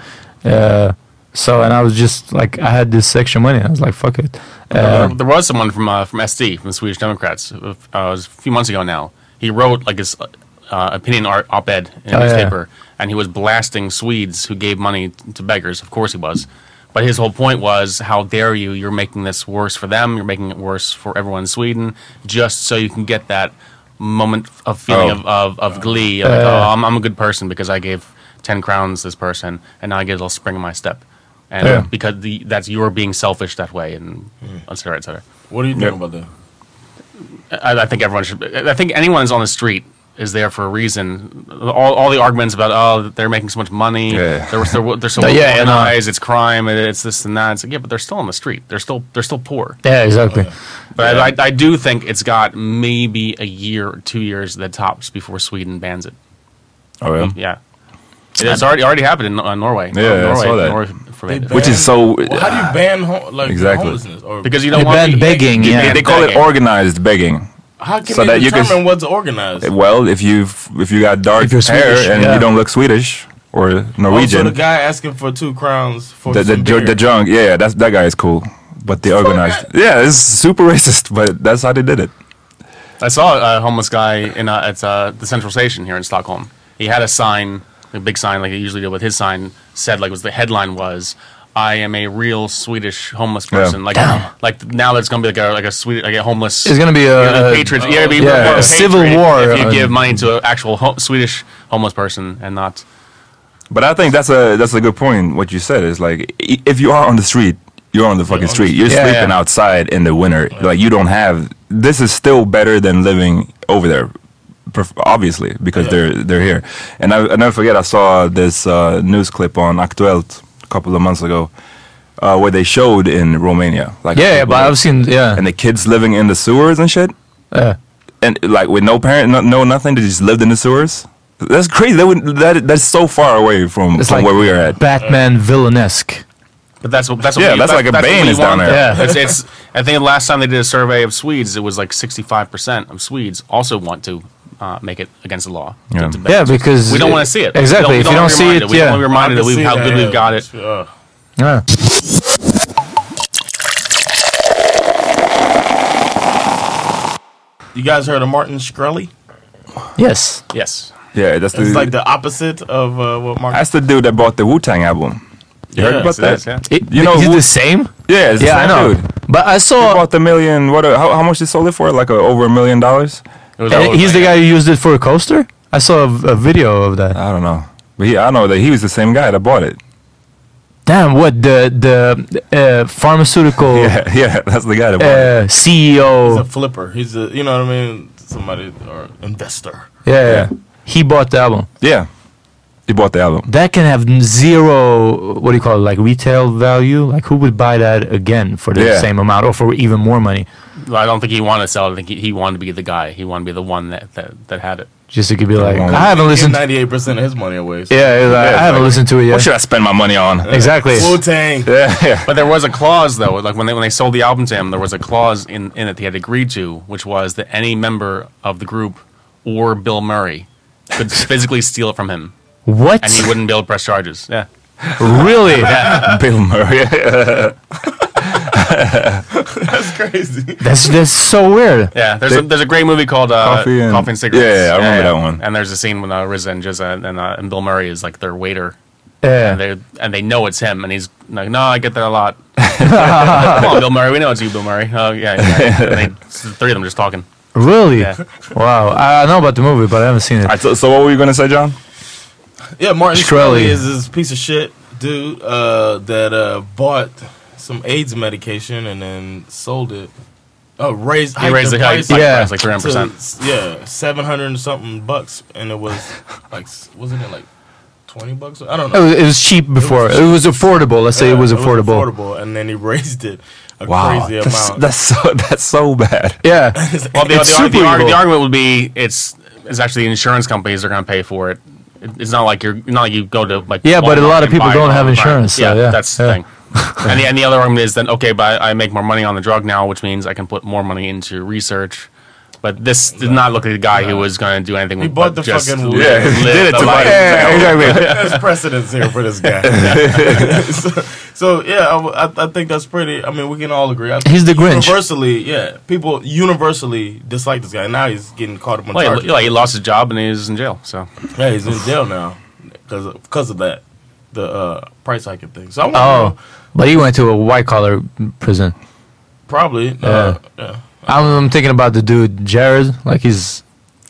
uh, so and I was just like, I had this extra money. I was like, fuck it.
there, there was someone from uh, from SD from the Swedish Democrats. Uh, f- uh, it was a few months ago now. He wrote like his uh, uh, opinion art op-ed in a
Oh, yeah.
newspaper, and he was blasting Swedes who gave money t- to beggars. Of course he was, but his whole point was, how dare you? You're making this worse for them. You're making it worse for everyone in Sweden, just so you can get that moment of feeling
Oh.
of, of, of glee. Like, oh, I'm, I'm a good person because I gave ten crowns this person, and now I get a little spring in my step. And
Yeah.
because the, that's you're being selfish that way, and et cetera, et cetera.
What do you think about that?
I, I think everyone should. I think anyone who's on the street is there for a reason. All, all the arguments about oh they're making so much money,
Yeah.
they're they're, they're so
Yeah,
well
yeah, I know.
uh,
organized, it's crime, it- it's this and that. It's like yeah, but they're still on the street. They're still they're still poor.
Yeah, exactly.
But I, I, I do think it's got maybe a year or two years that tops before Sweden bans it.
Oh yeah.
Yeah, it's already already happened in uh, Norway.
Yeah, I
Norway,
saw that.
Norway forbade it.
They
Which is so-
Well, how do you ban ho- like
Exactly.
homelessness? Or
because you
They
don't want
banned
to-
begging,
you
yeah.
ban
They call it
begging.
organized begging.
how can
so
they
that you can
determine
s- Eh,
what's organized? Oh,
Well, if you if you got dark
If you're
hair
Swedish,
and
yeah.
you don't look Swedish or
Also,
Norwegian,
Oh, the guy asking for two crowns for
the the,
some
ju-
beer.
the drunk, yeah, that's that guy is cool. But they organized, yeah, it's super racist, but that's how they did it.
I saw a homeless guy in uh, at uh, the central station here in Stockholm. He had a sign, a big sign, like they usually do with his sign, said like was the headline was, I am a real Swedish homeless
Yeah.
person. Like, like now that's gonna be like a like a Swedish like a homeless.
It's gonna be
You're the
a, a
patriots. You're gonna be
yeah,
more of
a civil
patriot
war,
If you
uh,
give money to an actual ho- Swedish homeless person and not
But I think that's a that's a good point. What you said is like i- if you are on the street, you're on the fucking street. You're
Yeah,
sleeping
yeah.
outside in the winter. Like you don't have. This is still better than living over there, pref- obviously, because they're they're here. And I, I never forget. I saw this uh, news clip on Aktuelt a couple of months ago, uh, where they showed in Romania. Like
yeah, yeah,
people-
but I've seen yeah.
and the kids living in the sewers and shit.
Yeah.
and like with no parent, no, no nothing. They just lived in the sewers. That's crazy. That would that that's so far away from,
It's
from
like
where we are at.
Batman villainesque.
But that's what that's what
Yeah,
we,
that's
that-
like a
what
Bane
we
is down
want.
there.
Yeah.
it's, it's. I think the last time they did a survey of Swedes, it was like sixty five percent of Swedes also want to uh, make it against the law.
Yeah.
To- to ban
Yeah,
it.
because
we don't want to see it
Exactly. if you don't see it,
we
yeah.
don't want to be reminded that
I
we
can
how
see
good
that,
we've got it.
Yeah.
Yeah.
You guys heard of Martin Shkreli?
Yes.
Yes,
Yeah, that's the,
It's like the opposite of uh, what Martin.
that's the dude that bought the Wu Tang album. You heard
Yeah,
about
so
that?
that's- yeah.
You know
is it
who-
the same?
Yeah, it's the
Yeah, I
same
know.
Dude.
But I
He
saw
bought the million. What? A, how, how much they sold it for? Like a, over a million dollars?
it was
and
always
he's the
like
guy who used it for a coaster. I saw a, a video of that.
I don't know. But he, I know that he was the same guy that bought it.
Damn, what the the uh, pharmaceutical
Yeah, yeah, that's the guy that bought it.
uh,
He's a
CEO?
flipper. He's a you know what I mean. Somebody or investor.
yeah,
yeah.
yeah, he bought the album.
Yeah, he bought the album.
That can have n- zero. What do you call it? Like retail value. Like who would buy that again for the
Yeah.
same amount or for even more money?
I don't think he wanted to sell. it. I think he, he wanted to be the guy. He wanted to be the one that that, that had it.
Just to could be like,
won't.
I haven't listened. Yeah,
Ninety-eight percent of his money away.
it's like, I haven't listened to it
What
yet.
should I spend my money on?
Exactly.
Wu Tang.
Yeah, yeah.
But there was a clause though, like when they when they sold the album to him, there was a clause in, in it he had agreed to, which was that any member of the group or Bill Murray could physically steal it from him,
What?
and he wouldn't be able to press charges. Yeah,
really?
Bill Murray.
Crazy.
That's that's so weird.
yeah. There's a, there's a great movie called uh,
Coffee
Coffee,
and-
and, Cigarettes.
Yeah, yeah, I remember that one.
And there's a scene when uh, RZA and Jizza and, and, uh, and Bill Murray is like their waiter,
Yeah.
and they and they know it's him, and he's like, "No, I get that a lot." Come on, Bill Murray, we know it's you, Bill Murray. Oh yeah, yeah. And they, the three of them just talking.
Really?
Yeah.
Wow. I I know about the movie, but I haven't seen it.
Alright, so, so what were you gonna say, John?
Yeah, Martin
Shkreli.
Shkreli is this piece of shit dude uh, that uh, bought some AIDS medication and then sold it. Oh, raised
He
hiked
raised the price,
price
like,
Yeah.
price, like three hundred
to,
percent.
yeah, seven hundred and something bucks, and it was like s- wasn't it like twenty bucks? I don't
It
know.
was, it was cheap before. It was, affordable. Let's say
Yeah,
it was affordable.
affordable, and then he raised it a
Wow,
crazy
that's,
amount.
that's so that's so bad.
Yeah.
Well, the,
It's
the,
super
the, arg-
evil.
the argument would be it's it's actually the insurance companies that are going to pay for it. It- It's not like you're not like you go to like
Yeah, but a
Walmart
lot of
and
people
buy
don't
it
have
online.
insurance, so yeah,
that's
yeah.
the thing. and, the, and the other argument is then okay, but I, I make more money on the drug now, which means I can put more money into research. But this did not look like the guy who was going to do anything.
He
but
bought the
just
fucking-
live
Yeah,
he did it
the
to buy
life.
it.
exactly.
There's precedence here for this guy. so, so, yeah, I w- I, I think that's pretty. I mean, we can all agree. I think
He's the Grinch.
Universally, yeah, people universally dislike this guy. Now he's getting caught up on
Well,
charges.
he, like, he lost his job and he's in jail. So
yeah, he's in jail now because of, 'cause of that, the uh, price hiking thing. So I want
Oh,
oh.
but he went to a white collar prison.
probably. Uh, yeah.
I'm, I'm thinking about the dude Jared. Like he's.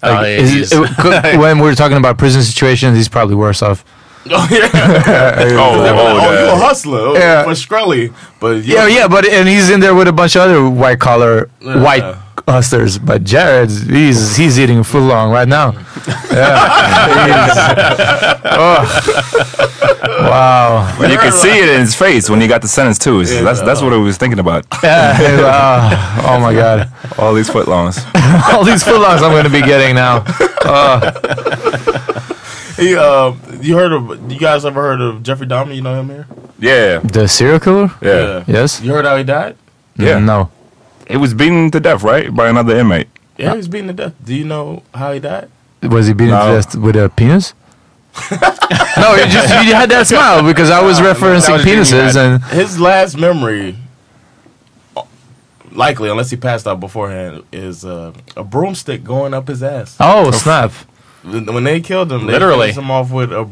Oh,
Like,
yeah,
is-
he's-
it- c- when we're talking about prison situations, he's probably worse off.
Oh yeah.
Oh,
They're like,
oh,
oh, you a
the-
hustler. Oh,
Yeah.
For Shkreli. But
Yeah, Oh, yeah, but and he's in there with a bunch of other white collar white
Yeah.
hustlers. But Jared's he's he's eating full long right now. Yeah. He's- oh. Wow.
But you could see it in his face when he got the sentence too. So that's that's what I was thinking about.
Yeah, it- ah, oh my god.
All these footlongs.
All these footlongs I'm going to be getting now.
He, uh, you heard of? You guys ever heard of Jeffrey Dahmer? You know him here?
Yeah,
The serial killer?
yeah,
Yes?
You heard how he died?
yeah.
No.
He was beaten to death, right, by another inmate.
Yeah, he was beaten to death. Do you know how he died?
Was he beaten
No.
to death with a penis? no, you just you had that smile because I was referencing
was giving you
penises
that.
and
His last memory, likely, unless he passed out beforehand, is uh, a broomstick going up his ass.
oh snap.
When they killed him, they
Literally.
finished him off with a,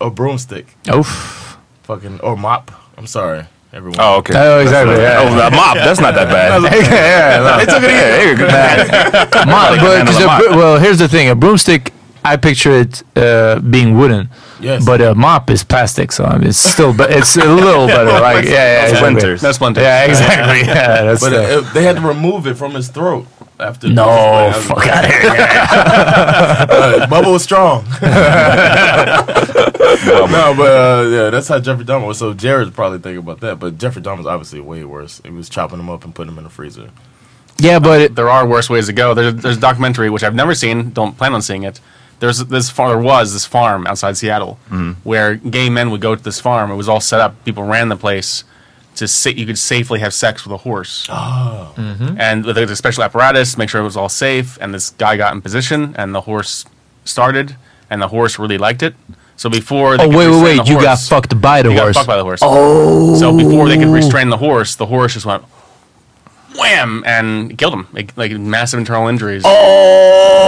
a broomstick,
Oof.
fucking or mop. I'm sorry, everyone.
Oh, okay.
Oh, exactly. Yeah.
Oh, the mop. That's not that bad.
yeah, no.
They took it in.
Mop,
Like a
but-
man
'cause
of
a
mop.
bro- well, here's the thing: a broomstick, I picture it uh, being wooden,
Yes.
but a mop is plastic, so I mean, it's still, be- it's a little better. Like, yeah, yeah,
That's
exactly.
winters.
That's one thing.
Yeah, exactly. Yeah, that's
but
the-
uh, it- they had to remove it from his throat after.
no, fuck out here.
Bubba was strong. no, but uh, yeah, that's how Jeffrey Dahmer was. So Jared's probably thinking about that, but Jeffrey Dahmer's obviously way worse. He was chopping them up and putting them in the freezer.
Yeah, but it,
there are worse ways to go. There's, there's a documentary which I've never seen. Don't plan on seeing it. There's this far, there was this farm outside Seattle
Mm-hmm.
where gay men would go to this farm. It was all set up. People ran the place to sa- you could safely have sex with a horse. Oh.
Mm-hmm.
And there's a special apparatus to make sure it was all safe. And this guy got in position, and the horse started, and the horse really liked it. So before they
oh
could
wait, wait,
restrain
wait!
the
You got
horse-
fucked by the
you
horse.
got fucked by the horse. Oh. So before they could restrain the horse, the horse just went wham and killed him. Like, like massive internal injuries. Oh.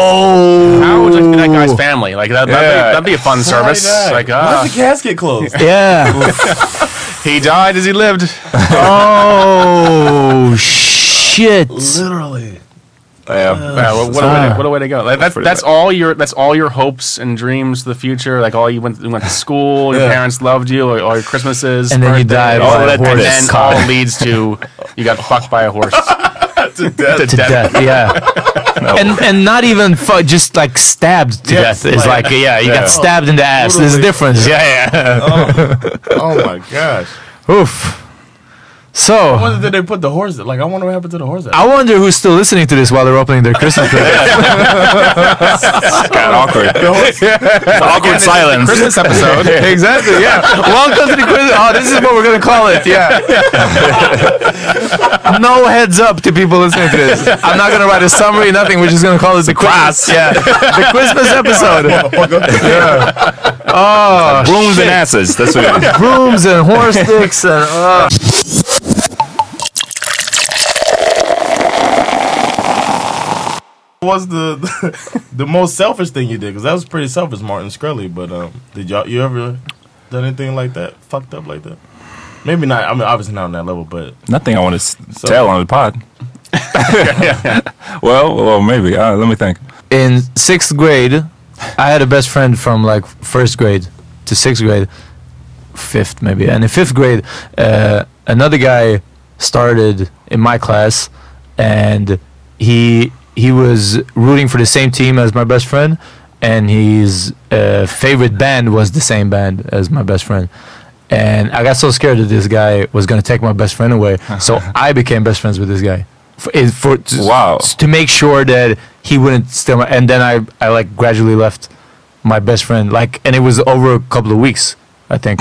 Oh.
How would you like to be that guy's family? Like that, that'd,
Yeah.
be, that'd be a fun service. Like
Why's
ah,
the casket closed?
yeah.
he died as he lived.
oh shit!
Literally.
Yeah.
Yeah, what, what a way to, what a way to go! Like, that's that's all your that's all your hopes and dreams of the future. Like all you went you went to school, your
Yeah.
parents loved you, all, all your Christmases,
And then you died
all
by a
that, and
horse.
then all leads to you got fucked by a horse to
to death. Yeah. And and not even fu- just like stabbed to
Yes,
death. It's
like-
like, yeah, you
Yeah.
got stabbed in the ass. There's a
Totally.
difference. Yeah,
Oh my gosh.
yeah. Oof. So
Whether did they put the horse? Like I wonder what happened to the horse.
I wonder who's still listening to this while they're opening their Christmas presents.
It's kind of awkward. It's awkward silence. Christmas episode.
exactly. Yeah. Welcome to the Christmas. Oh, this is what we're gonna call it. Yeah. no heads up to people listening to this. I'm not gonna write a summary. Nothing. We're just gonna call it the Christmas. Yeah. The Christmas episode. Oh,
Brooms and asses. That's what it is.
brooms and horse sticks and. Uh.
What was the the most selfish thing you did? Because that was pretty selfish, Martin Scully. But um, did y'all you ever done anything like that? Fucked up like that? Maybe not. I mean, obviously not on that level, but
Nothing I want to s tell on the pod. well, well, maybe. Uh, let me think.
in sixth grade, I had a best friend from like first grade to sixth grade, fifth maybe. And in fifth grade, uh, another guy started in my class, and he he was rooting for the same team as my best friend, and his uh, favorite band was the same band as my best friend. And I got so scared that this guy was gonna take my best friend away, so I became best friends with this guy. For, eh, for to-
Wow.
to make sure that he wouldn't steal my and then I, I like gradually left my best friend like and it was over a couple of weeks i think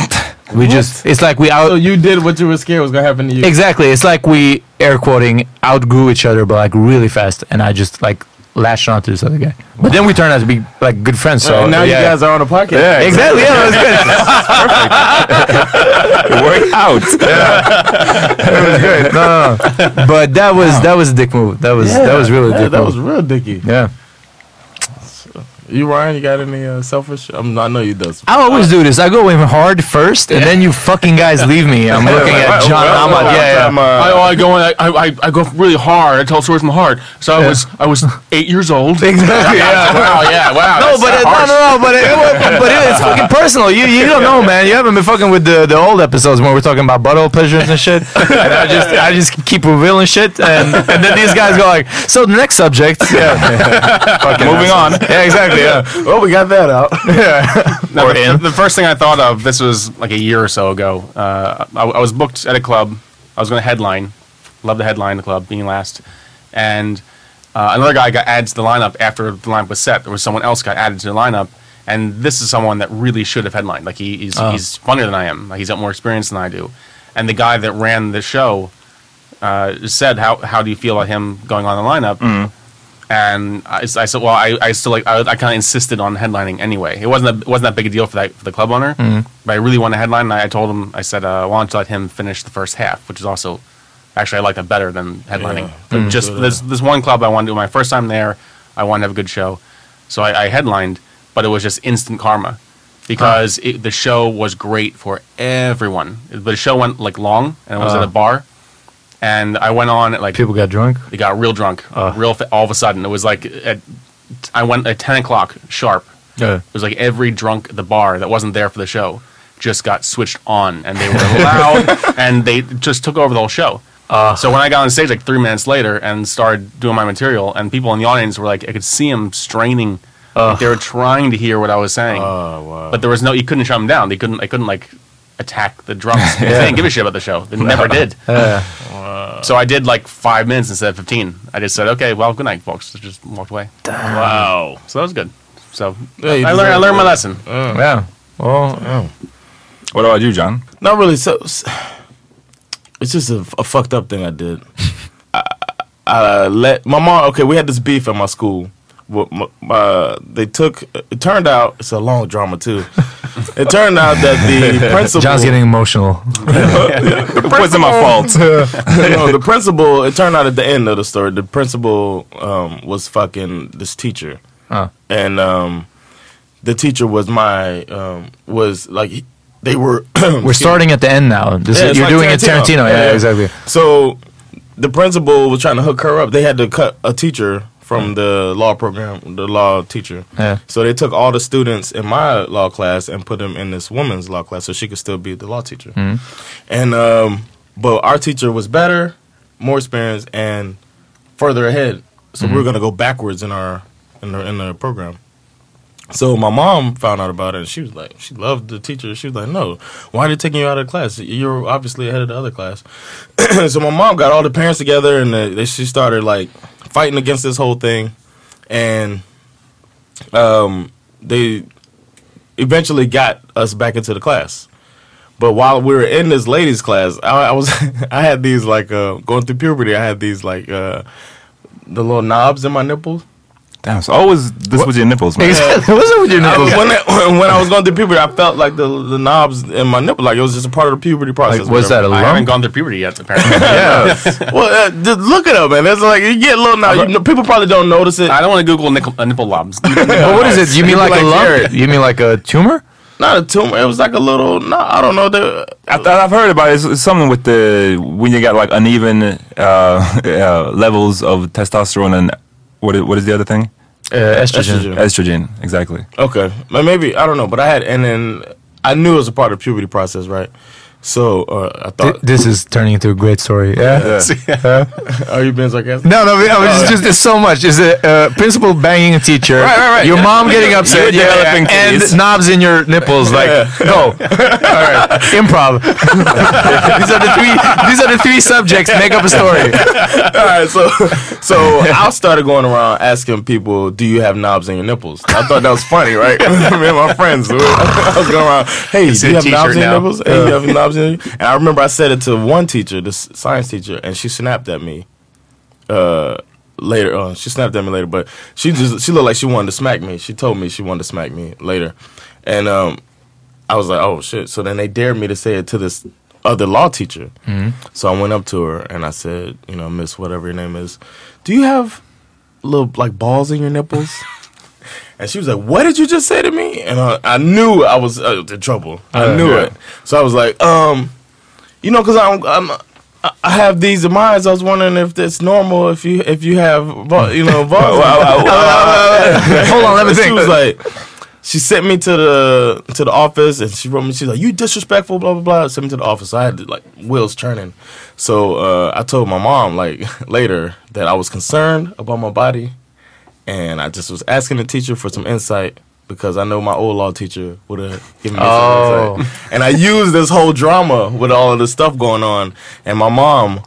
we just it's like we out
so you did what you were scared was gonna happen to you.
exactly it's like we air quoting outgrew each other but like really fast and i just like latched onto this other guy but then we turned out to be like good friends so
and Uh, now
yeah.
you guys are on a podcast.
Yeah,
exactly yeah that was good
It worked out.
no, no, no. but that was that was a dick move that was that was really a
Yeah,
dick
that
move
was real dicky.
yeah
You Ryan, you got any uh, selfish? I'm, I know you does.
I always do this. I go in hard first, and then you fucking guys leave me. I'm looking at John
well,
Ahmad.
well,
Yeah,
I'm,
yeah.
uh,
I, oh, I go in, I, I, I go really hard. I tell stories from the heart. So I was I was eight years old.
Exactly.
Yeah. wow. Yeah. Wow.
No, but it, no, no, no, but it, but it, it's fucking personal. You you don't know, man. You haven't been fucking with the, the old episodes when we're talking about butthole pleasures and shit. And I just I just keep revealing shit, and, and then these guys go like, so the next subject. Yeah,
Moving on.
yeah, exactly. Yeah,
Oh, we got that out.
No, the, the first thing I thought of, this was like a year or so ago. Uh, I, I was booked at a club. I was going to headline. Love the headline, the club, being last. And uh, another guy got added to the lineup after the lineup was set. There was someone else got added to the lineup. And this is someone that really should have headlined. Like, he, he's, he's funnier than I am. Like, he's got more experience than I do. And the guy that ran the show uh, said, how, how do you feel about him going on the lineup? and I, I said, well, I, I still like I, I kind of insisted on headlining anyway. It wasn't a, it wasn't that big a deal for that for the club owner, but I really wanted to headline. And I, I told him, I said, uh, I wanted to let him finish the first half, which is also actually I like that better than headlining. But just this this one club I wanted to do my first time there. I wanted to have a good show, so I, I headlined, but it was just instant karma. because it, the show was great for everyone. The show went like long, and I was at a bar, and I went on at like
People got drunk.
it got real drunk, real fa- all of a sudden. It was like at, I went at ten o'clock sharp.
Yeah.
It was like every drunk at the bar that wasn't there for the show just got switched on, and they were loud, and they just took over the whole show. so when I got on stage like three minutes later and started doing my material, and people in the audience were like, I could see them straining. Like they were trying to hear what I was saying, but there was no. You couldn't shut them down. They couldn't. I couldn't like attack the drums. They didn't give a shit about the show. They never did. So I did like five minutes instead of 15. I just said, okay, well, good night, folks. I just walked away.
Wow.
So that was good. So
Yeah, you
I, learned, I
deserve Uh-huh.
learned my
that.
lesson.
Oh, Yeah. Well,
What about you, John?
Not really. So s- it's just a, a fucked up thing I did. I, I let my mom. Okay, we had this beef at my school. Wh- m- Uh, they took. It turned out it's a long drama too. it turned out that the principal.
John's getting emotional.
It wasn't my fault.
no, the principal. It turned out at the end of the story, the principal um, was fucking this teacher,
Uh.
and um, the teacher was my um, was like he- they were.
We're starting at the end now. This
Yeah,
is,
it's
you're
like
doing it Tarantino. Yeah,
Yeah.
exactly.
So the principal was trying to hook her up. They had to cut a teacher from the law program, the law teacher.
Yeah.
So they took all the students in my law class and put them in this woman's law class, so she could still be the law teacher. And um, but our teacher was better, more experienced, and further ahead. So we were gonna go backwards in our in the in the program. So my mom found out about it, and she was like, she loved the teacher. She was like, no, why are they taking you out of the class? You're obviously ahead of the other class. so my mom got all the parents together, and uh, they, she started like fighting against this whole thing, and um, they eventually got us back into the class. But while we were in this ladies' class, I, I was I had these like uh, going through puberty. I had these like uh, the little knobs in my nipples.
Damn, it's always this with your nipples, man.
What's up with your nipples?
I- when, I, when I was going through puberty, I felt like the the knobs in my nipple, like it was just a part of the puberty process.
Like, was that
whatever.
a
I haven't
lump?
gone through puberty yet, apparently.
well, uh, just look it up, man. That's like you get a little knob. You know, people probably don't notice it.
I don't want to Google nickel, uh, nipple lobs.
But what is it? You mean like,
like
a lump?
Jared.
You mean like a tumor?
Not a tumor. It was like a little. No, I don't know. The,
I, I've heard about it. It's, it's something with the when you got like uneven uh, uh, levels of testosterone and what is, what is the other thing?
Uh, estrogen.
Estrogen.
Estrogen, exactly.
Okay, but maybe I don't know. But I had, and then I knew it was a part of the puberty process, right? So uh, I
Th-
thought,
this is turning into a great story. Yeah.
are you being sarcastic?
No, no, I was just, just it's so much. Is a uh, principal banging a teacher?
Right, right, right.
Your mom getting upset.
You're developing
and
titties.
knobs in your nipples. Like go. All right, improv. these are the three. These are the three subjects. Make up a story.
All right, so so I started going around asking people, "Do you have knobs in your nipples?" I thought that was funny, right? Me and my friends, we were- I was going around, "Hey, do
a
you have
t-shirt
knobs in your
now.
nipples? Hey, you have knobs in your?" And I remember I said it to one teacher, this science teacher, and she snapped at me. Uh, later on, she snapped at me later, but she just she looked like she wanted to smack me. She told me she wanted to smack me later, and um, I was like, "Oh shit!" So then they dared me to say it to this other law teacher. So I went up to her and I said, you know, Miss whatever your name is, do you have little like balls in your nipples? and she was like, what did you just say to me? And I, I knew I was uh, in trouble. I knew it. So I was like, um, you know, because I'm, I'm I- I have these in mine. So I was wondering if that's normal. If you if you have ball, you know balls. Hold on, let me think. She was like. She sent me to the to the office and she wrote me. She's like, "You disrespectful, blah blah blah." Sent me to the office. I had like wheels turning. So uh, I told my mom like later that I was concerned about my body, and I just was asking the teacher for some insight because I know my old law teacher would have given me
Oh.
some insight. And I used this whole drama with all of this stuff going on, and my mom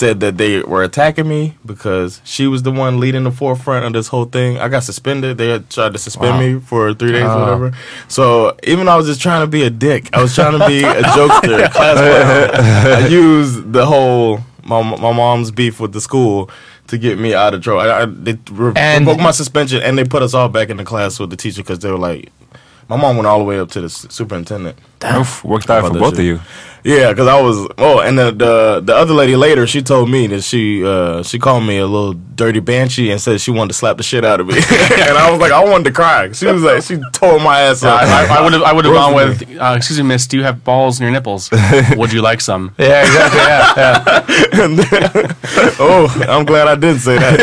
said that they were attacking me because she was the one leading the forefront of this whole thing. I got suspended. They had tried to suspend me for three days or whatever. So even though I was just trying to be a dick, I was trying to be a jokester, a class clown. I used the whole my my mom's beef with the school to get me out of trouble. I, I, they re-
And-
revoked my suspension and they put us all back in the class with the teacher because they were like. My mom went all the way up to the s- superintendent.
Oof, worked out for both of you.
Yeah, because I was. Oh, and the, the the other lady later, she told me that she uh, she called me a little dirty banshee and said she wanted to slap the shit out of me, and I was like, I wanted to cry. She was like, she tore my ass up.
I, I would have. I would have gone
Rosemary.
with. Uh, excuse me, Miss. Do you have balls in your nipples? would you like some?
Yeah, exactly. Yeah, yeah.
oh, I'm glad I didn't say that.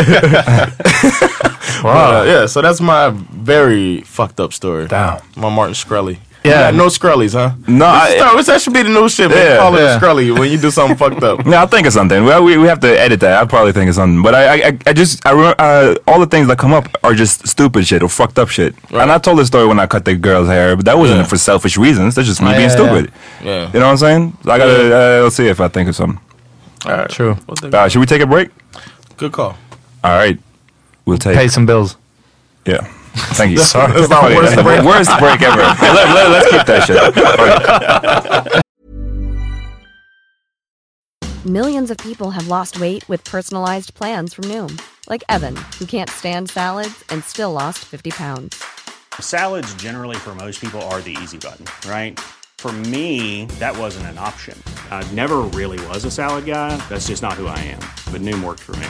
Wow.
Uh, yeah, so that's my very fucked up story.
Damn.
My Martin Shkreli.
Yeah.
Yeah, no Skrellies, huh?
No, I-
I, that should be the new shit. man.
Yeah,
call
yeah.
it a Skrelly when you do something fucked up.
No, I think of something. Well, we, we have to edit that. I probably think of something, but I I, I- I just I remember, uh, all the things that come up are just stupid shit or fucked up shit. And I told the story when I cut the girl's hair, but that wasn't
Yeah. Oh,
for selfish reasons. That's just me
Ah,
being
yeah,
stupid.
Yeah.
You know what I'm saying? So I gotta uh, let's see if I think of something.
True.
What the-
Uh, should we take a break?
Good call.
All right, we'll take.
Pay some bills.
Yeah. Thank you.
Sorry. That's not worst
the
break.
worst break ever. let, let, let's keep that shit. All right.
Millions of people have lost weight with personalized plans from Noom, like Evan, who can't stand salads and still lost 50 pounds.
Salads, generally, for most people, are the easy button, right? For me, that wasn't an option. I never really was a salad guy. That's just not who I am. But Noom worked for me.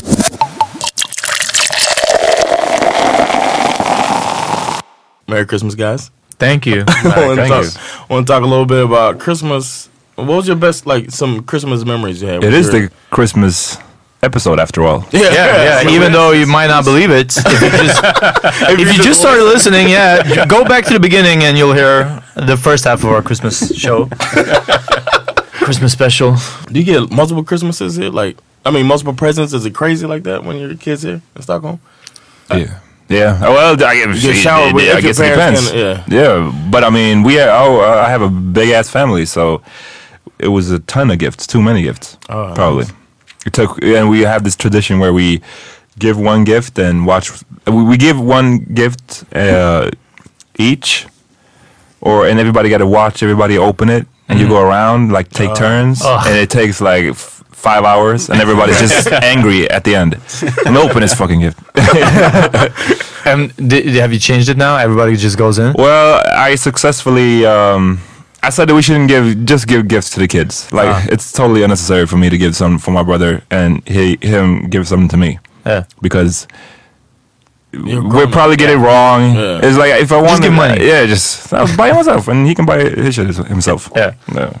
Merry Christmas, guys.
Thank you.
I want to
Thank you.
talk, want to talk a little bit about Christmas. What was your best, like, some Christmas memories you had?
It
with
is
your-
the Christmas episode after all.
yeah,
Yeah, yeah. Even though you might not believe it, if you just, if you just started listening, yeah, go back to the beginning and you'll hear the first half of our Christmas show, Christmas special.
Do you get multiple Christmases here? Like, I mean, multiple presents? Is it crazy like that when your kids here in Stockholm?
Yeah. Uh, Yeah. Oh, Well, I, guess-
get showered
it-
with-
it- I
if your
guess it
parents
depends.
can-
yeah. But I mean, we. Are, oh, uh, I have a big ass family, so it was a ton of gifts. Too many gifts,
Oh,
probably. It took, and we have this tradition where we give one gift and watch. We we give one gift uh, each, or and everybody got to watch everybody open it, and
Mm-hmm.
you go around like take turns, and it takes like. F- Five hours and everybody's just angry at the end. And open his fucking gift.
Um, di- di- have you changed it now? Everybody just goes in.
Well, I successfully. Um, I said that we shouldn't give just give gifts to the kids. Like
Ah.
it's totally unnecessary for me to give some for my brother and he him give something to me
Yeah.
because we're
grown-up.
probably getting it wrong.
Yeah.
It's like if I want
give money.
yeah, just I'll buy it myself and he can buy his shit himself.
Yeah.
yeah.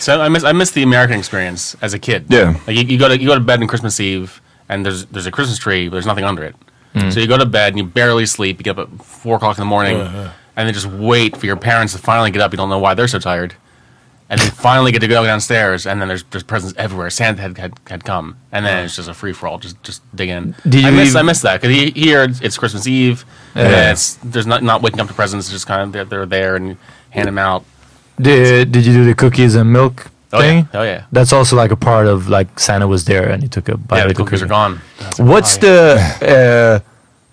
So I miss I miss the American experience as a kid.
Yeah.
like you, you go to you go to bed on Christmas Eve and there's there's a Christmas tree, but there's nothing under it.
Mm.
So you go to bed and you barely sleep. You get up at four o'clock in the morning, and then just wait for your parents to finally get up. You don't know why they're so tired, and then finally get to go downstairs. And then there's there's presents everywhere. Santa had had, had come, and then it's just a free for all. Just just dig in.
Did
I
you
miss
even-
I miss that because here it's- it's Christmas Eve. And
Yeah.
it's, there's not not waking up to presents. It's just kind of they're, they're there and you hand them out.
Did Did you do the cookies and milk
Oh, yeah.
thing?
Oh, yeah.
That's also like a part of like Santa was there and he took a bite
yeah,
of
the
the
cookies
cookies
are gone.
What's the uh,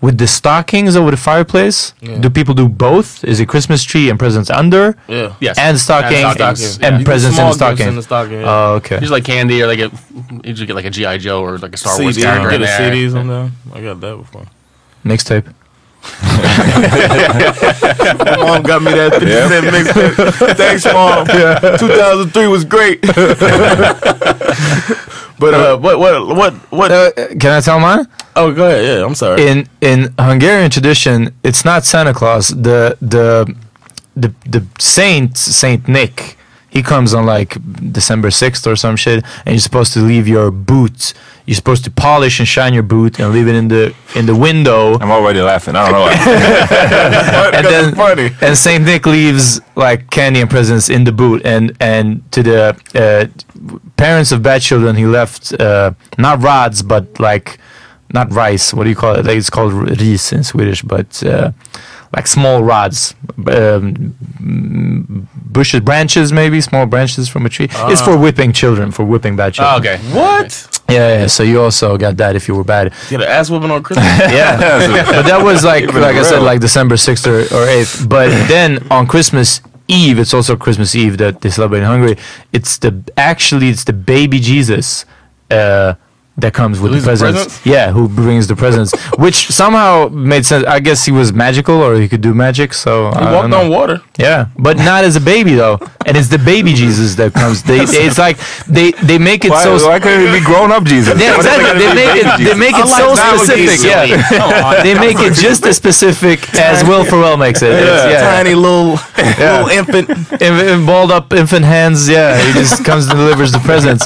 with the stockings over the fireplace? Do people do both? Is it Christmas tree and presents under?
Yeah.
Yes.
And stockings
And
and,
stockings, yeah.
presents in the
Small gifts
stocking.
in the stocking, yeah.
Oh, okay.
Usually like candy or like a, usually get like a GI Joe or like a Star Wars
CD,
character in
get a
there.
CDs on there. I got that before.
Mixtape.
mom got me that 50
Yeah.
cent mixtape. Thanks, mom. 2003 was great. but uh, what, what, what, what?
Can I tell mine?
Uh, oh, go ahead. Yeah, I'm sorry.
in in Hungarian tradition, it's not Santa Claus. The the the the saint Saint Nick. He comes on like December sixth or some shit, and you're supposed to leave your boot. You're supposed to polish and shine your boot and leave it in the in the window.
I'm already laughing. I don't know why.
and then
funny.
and Saint Nick leaves like candy and presents in the boot, and and to the uh, parents of bad children, he left uh, not rods, but like not rice. What do you call it? Like, it's called r- ris in Swedish, but uh, like small rods, um, bushes, branches, maybe small branches from a tree. It's for whipping children, for whipping bad children.
Oh, okay.
what?
Yeah, yeah. So you also got that if you were bad.
Get an ass whooping on Christmas?
Yeah, but that was like
Even
like I said,
real.
like December sixth or, or eighth. But then on Christmas Eve, it's also Christmas Eve that they celebrate in Hungary. It's the actually it's the baby Jesus uh, that comes with the
Who's the
presents.
presents?
Yeah, who brings the presents, which somehow made sense. I guess he was magical or he could do magic. So
He
I don't
walked
know.
on water.
Yeah, but not as a baby though, and it's the baby Jesus that comes. They, it's like they they make it
why,
so.
why couldn't it be grown up Jesus?
Yeah,
Why does
exactly. They
gotta be
make
baby
it, they
Jesus?
make it so specific. Yeah, they make it just as specific as Will Ferrell makes it. It's- yeah,
Tiny little, little infant.
In, in balled up infant hands. Yeah, he just comes and delivers the presents,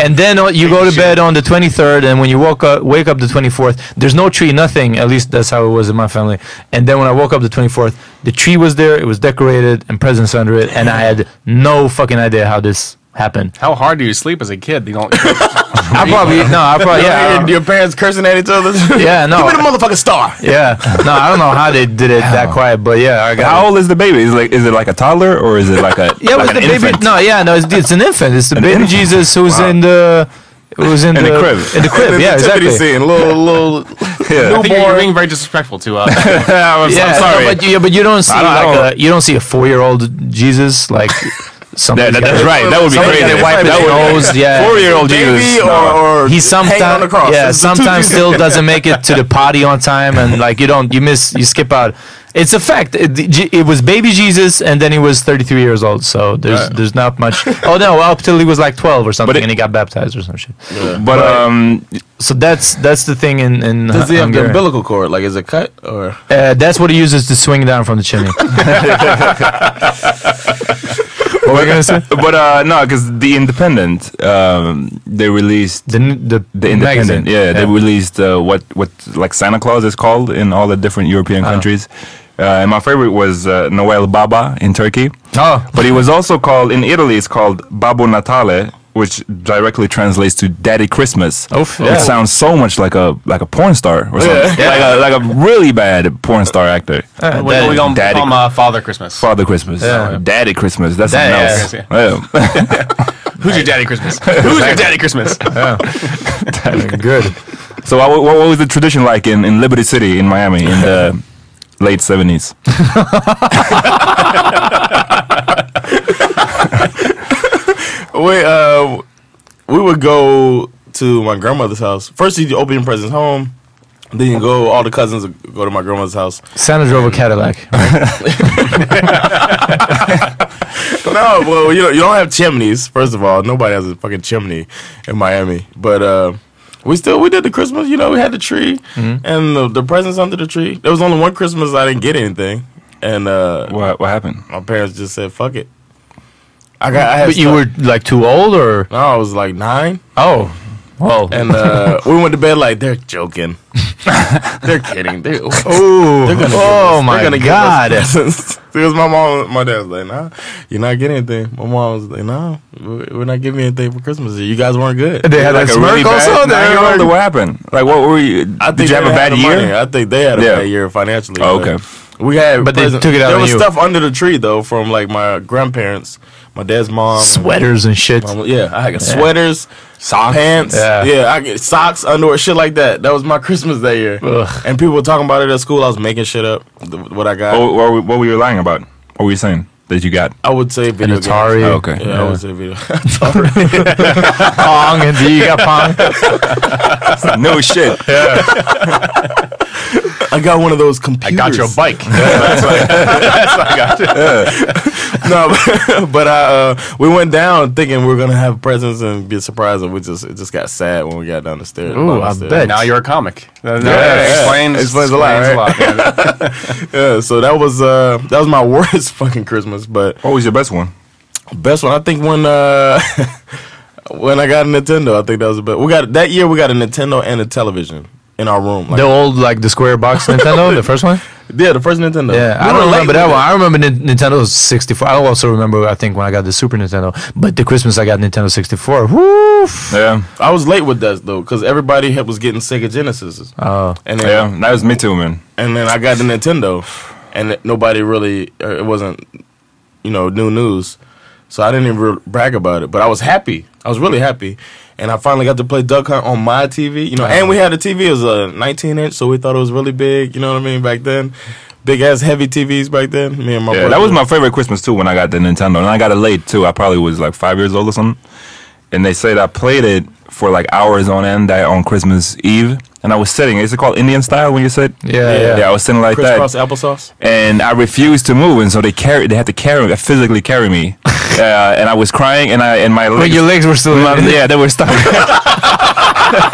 and then uh, you go to bed on the 23rd, and when you woke up, wake up the 24th, there's no tree, nothing. At least that's how it was in my family. And then when I woke up the 24th, the tree was there, it was decorated, and presents under it, and I had no fucking idea how this happened.
How hard do you sleep as a kid? You don't.
I probably no, I probably yeah.
Your, your parents cursing at each other.
Yeah, no.
Give me the motherfucking star.
Yeah. No, I don't know how they did it that quiet, but yeah, I got.
How old is the baby? Is it like is it like a toddler or is it like a
Yeah, it
like
was the
an
baby.
infant?
No, yeah, no, it's, it's an infant. It's the baby
infant.
Jesus who's in the. Who's in,
In the crib.
In the crib, yeah,
Nativity
exactly.
Scene, little, little.
I
Yeah.
think you're being very disrespectful to uh,
I'm,
Yeah,
sorry.
No, but, you, yeah, but you don't see
I don't- I
like
don't-
a, you don't see a four-year-old Jesus like. somebody
That- that- that's right. That would be
Somebody
crazy.
that wiped
That
his
would-
nose, yeah.
Four-year-old Jesus.
Baby or, or
He
hang on the
sometimes,
cross.
yeah,
It's the two
sometimes
Jesus.
still doesn't make it to the potty on time, and like you don't, you miss, you skip out. It's a fact. It, it was baby Jesus, and then he was 33 years old. So there's there's not much. Oh no, up till he was like 12 or something,
it-
and he got baptized or some shit.
but um,
So that's that's the thing in in
Does he
Hu-
have the
Hungary.
umbilical cord? Like, is it cut or?
Uh, that's what he uses to swing down from the chimney. what were you gonna say?
but uh, no, because the Independent um, they released
The n- the,
the Independent.
magazine.
Yeah, they released uh, what what like Santa Claus is called in all the different European
Uh-huh.
countries. Uh, and my favorite was uh, Noel Baba in Turkey.
Oh.
But he was also called in Italy. It's called Babbo Natale, which directly translates to Daddy Christmas.
Oof,
which
yeah.
sounds so much like a like a porn star or something, like a like a really bad porn star actor.
we- we gonna
Daddy-
call him, uh, Father Christmas.
Father Christmas, Daddy Christmas. That's
Daddy
something else. Yeah.
Who's your Daddy Christmas? Who's your Daddy Christmas?
Good.
So what, what, what was the tradition like in, in Liberty City in Miami in the late seventies?
We uh, we would go to my grandmother's house. First, you open your presents home. Then you go. All the cousins would go to my grandmother's house.
Santa drove a Cadillac.
no, well, you know, you don't have chimneys. First of all, nobody has a fucking chimney in Miami. But uh, we still we did the Christmas. You know, we had the tree
Mm-hmm.
and the, the presents under the tree. There was only one Christmas I didn't get anything, and uh,
What what happened?
my parents just said, "Fuck it." I got. I had
But you
stuff.
were like too old, or
No, I was like nine.
oh, well,
And uh, we went to bed like they're joking. they're kidding. They,
Ooh.
they're gonna
Oh
give us,
my
they're gonna
God.
Give us presents. because my mom, my dad was like, "Nah, you're not getting anything." My mom was like, "Nah, we- we're not giving you anything for Christmas. You guys weren't good."
they had
like
a
a really
smirk also.
bad
They
nine
were
year old.
like-
What happened? Like what were you?
I
Did
think
you have
they
a
had
bad
the
year?
money. I think they had a
Yeah.
bad year financially.
Oh,
but
okay.
We had,
But they
presents-
took it out
There
on
was
you.
stuff under the tree though from like my grandparents, my dad's mom, and-
sweaters and shit.
Um, yeah, I got sweaters, socks, pants.
Yeah.
Yeah. I get socks, underwear, shit like that. That was my Christmas that year.
Ugh.
And people were talking about it at school. I was making shit up. th- What I got,
Oh, What, what, were- what were you lying about? What were you saying that you got?
I would say video. games.
Atari.
Oh, okay.
Yeah, I would say video.
Pong and you got Pong.
no shit. Yeah.
I got one of those computers.
got you a bike.
that's what I, no, but, but I, uh, we went down thinking we were gonna have presents and be surprised, and we just it just got sad when we got down the stairs.
Ooh,
below the
I
stairs.
bet.
now you're a comic. Yeah,
yeah.
explains,
Explains a lot,
explains a lot, yeah.
Yeah, so that was uh, that was my worst fucking Christmas, but
What was your best one?
Best one, I think when uh when I got a Nintendo, I think that was the best. We got that year. We got a Nintendo and a television in our room. Like,
The old like the square box Nintendo, the first one.
yeah, the first Nintendo.
Yeah,
We
I
were
don't
late
remember
with
that
it.
one. I remember Nin- Nintendo 64. I also remember I think when I got the Super Nintendo, but the Christmas I got Nintendo 64. Woo!
Yeah.
I was late with that though, because everybody had, was getting Sega Genesis.
Oh.
and then,
Yeah, that was me too, man.
and then I got the Nintendo, and it- nobody really. Or it wasn't, you know, new news, so I didn't even re- brag about it. But I was happy. I was really happy, and I finally got to play Duck Hunt on my TV. You know, and we had a TV. It was a 19 inch, so we thought it was really big. You know what I mean? Back then, big ass heavy TVs back then. Me and my
Yeah,
brother.
that was my favorite Christmas too when I got the Nintendo, and I got it late too. I probably was like five years old or something. And they said I played it for like hours on end that on Christmas Eve, and I was sitting. Is it called Indian style when you sit?
Yeah, yeah.
I was sitting like
crisscross
that,
applesauce.
and I refused to move, and so they carry. They had to carry, physically carry me, uh, and I was crying, and I and my
But
legs.
your legs were still.
My- yeah, they were stuck. I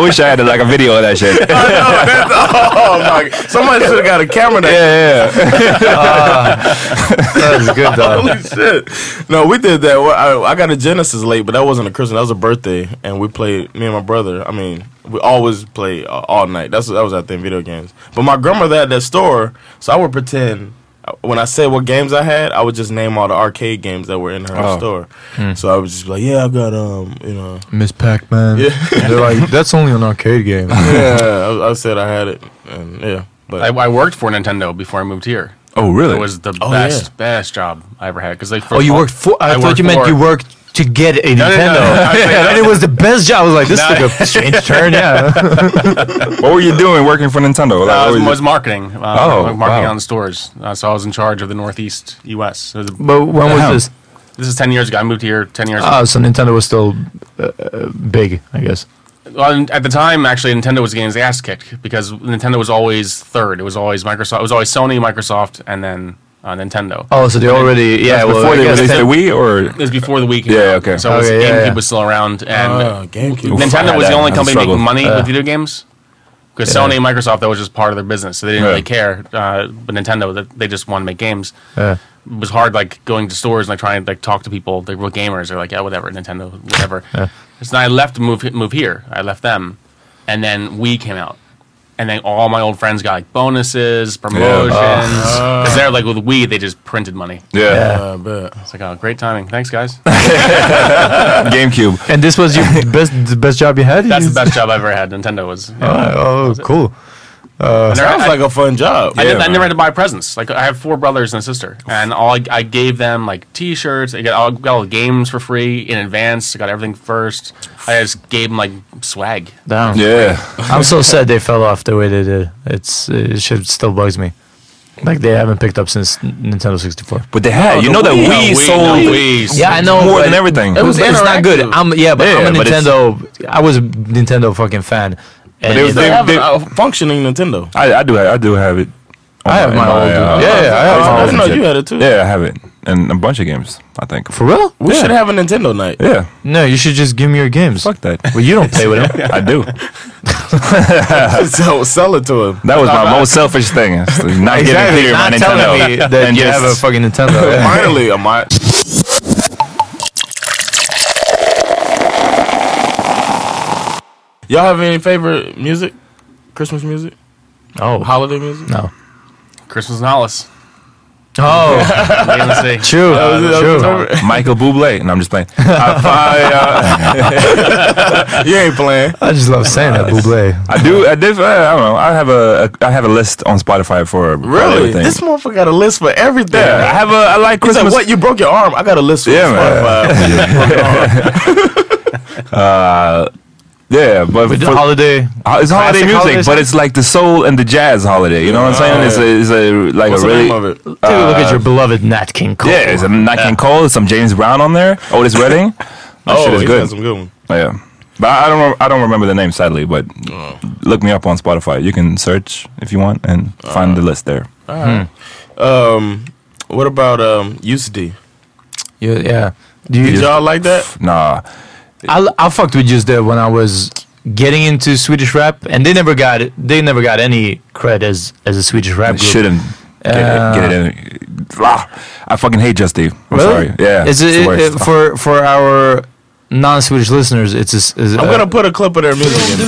wish I had like a video of that shit.
Oh my! Somebody should have got a camera. That
yeah, yeah.
That was good though.
Holy shit! No, we did that. Well, I, I got a Genesis late, but that wasn't a Christmas. That was a birthday, and we played. Me and my brother. I mean, we always play uh, all night. That's that was our thing, video games. But my grandmother had that store, so I would pretend uh, when I said what games I had, I would just name all the arcade games that were in her store. So I would just be like, "Yeah, I got um, you know,
Miss Pac-Man. Yeah. They're like that's only an arcade game.
yeah." I, I said I had it, and yeah, but
I, I worked for Nintendo before I moved here.
Oh, really?
It was the
Oh,
best,
yeah.
best job I ever had. Because they.
Oh, you worked for? I, thought
worked
you meant
for-
you worked to get a
no,
Nintendo.
no, no. I was like,
and it was the best job. I was like, this
No.
took a strange turn. Yeah.
what were you doing working for Nintendo? Like, what
I was,
were you-
was marketing. Uh,
Oh,
like marketing
wow.
on stores. Uh, so I was in charge of the Northeast U.S. So the-
but when
Damn.
was this?
this is ten years ago. I moved here ten years. ago.
Oh, so Nintendo was still uh, uh, big, I guess.
Well, and at the time, actually, Nintendo was getting his ass kicked because Nintendo was always third. It was always Microsoft. It was always Sony, Microsoft, and then uh, Nintendo.
Oh, so they already yeah.
before
Well, I
they
guess
released the
then-
Wii, or
It was before the Wii came
Yeah,
out.
okay.
So it was-
Okay, yeah,
GameCube
yeah. Oh,
was still around, and
Ah, GameCube.
Oof,
Nintendo
I
was
had
the only
that.
company
Struggle.
making money with video games. Because Sony and Microsoft, that was just part of their business, so they didn't
Yeah.
really care. Uh, but Nintendo, that they just wanted to make games.
Yeah.
It was hard, like going to stores and like trying to like talk to people. They were gamers. They're like, yeah, whatever, Nintendo, whatever. So then I left, to move move here. I left them, and then we came out, and then all my old friends got like bonuses, promotions.
Oh.
Because they're like with Wii, they just printed money.
yeah,
I bet.
It's like, oh, great timing. Thanks, guys.
GameCube.
And this was your best the best job you had.
That's
You-
the best job I've ever had. Nintendo was. yeah.
Oh, cool.
And they're-
Sounds
I-
like a fun job.
I, did, I
man.
never had to buy presents. Like I have four brothers and a sister, and all I, I gave them like T-shirts. I got all, got all the games for free in advance. I got everything first. I just gave them like swag.
Damn.
Yeah,
I'm so sad they fell off the way they did. It's it should, still bugs me. Like they haven't picked up since N- Nintendo 64.
but they had. you know that
No,
Wii
Wii, no,
sold
Wii.
Yeah, I know.
more
but
than everything.
It was it's not good.
interactive.
I'm yeah, but I'm a
Yeah, but it's-
Nintendo. I was a Nintendo fucking fan. And
it was-
They
They-
have
they-
a a functioning Nintendo.
I, I do. Have, I do have it.
I have my old-
uh,
yeah, yeah, I have
phone
my
old
and
one.
shit.
You had it too.
Yeah, I have it, and a bunch of games. I think.
for real?
We should have a Nintendo night.
Yeah,
No, you should just give me your games.
fuck that.
Well, you don't play with them.
I do.
so sell it to him.
That was my most selfish thing. is to Not getting
Exactly,
Peter my
not
Nintendo.
telling me that
and
you
just,
have a fucking Nintendo.
Finally, am I? Y'all have any favorite music? Christmas music?
Oh,
Holiday music?
no.
Christmas in Hollis.
Oh,
Wait and see.
true. true.
Michael Bublé, and I'm just playing. I, I, uh,
You ain't playing.
I just love saying that, Buble.
I do. I, did, uh, I don't know. I have a. a I have a list on Spotify for probably
Really?
everything.
This motherfucker got a list for everything.
yeah, I have a. I like
He's like,
Christmas.
what? You broke your arm? I got a list for
Yeah, man.
Spotify.
Yeah, but
With the
for-
holiday.
Uh, It's holiday
Classic
music,
holiday
but
song?
it's like the soul and the jazz holiday. You know what I'm saying? It's a, it's a like
What's
a
the
really
name of it?
Take a look at your beloved Nat King Cole.
Uh, yeah. Oh, It's a Nat King Cole, some James Brown on there. Otis Redding. That shit is
Oh, he got
good.
some good one.
Yeah. But I I don't. rem- I don't remember the name, sadly. But
Oh.
look me up on Spotify. You can search if you want and find the list there.
All right. Um, what about um, UCD?
Yeah, yeah. Do
Did
you,
y'all like that?
Nah,
I, I fucked with Just Deb when I was getting into Swedish rap, and they never got they never got any cred as as a Swedish rap
I
group.
shouldn't get,
Uh,
it, get it in. Ah, I fucking hate Justy. I'm sorry. Yeah,
Is
it's
it,
the worst.
it- for for our non-Swedish listeners? It's a, s- is
I'm
uh,
gonna put a clip of their music in.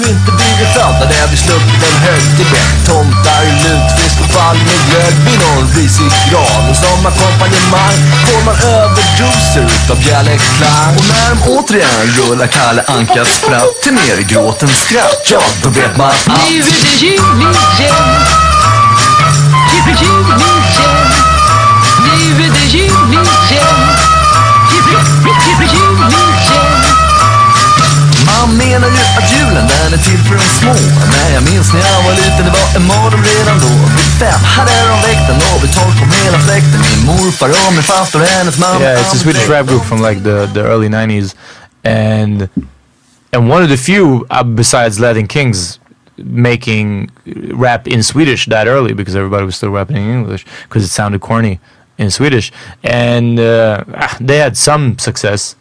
Man menar ju att julen den är till för de små Men jag minns när jag var liten, det var en mardröm redan då Vid fem hade de väckt den och vid tolv kom hela släkten Min morfar och min farfar och hennes mamma
Yeah, it's a Swedish rap group from like the, the early '90s, and and one of the few uh, besides Latin Kings making rap in Swedish that early because everybody was still rapping in English because it sounded corny in Swedish, and uh, ah, they had some success.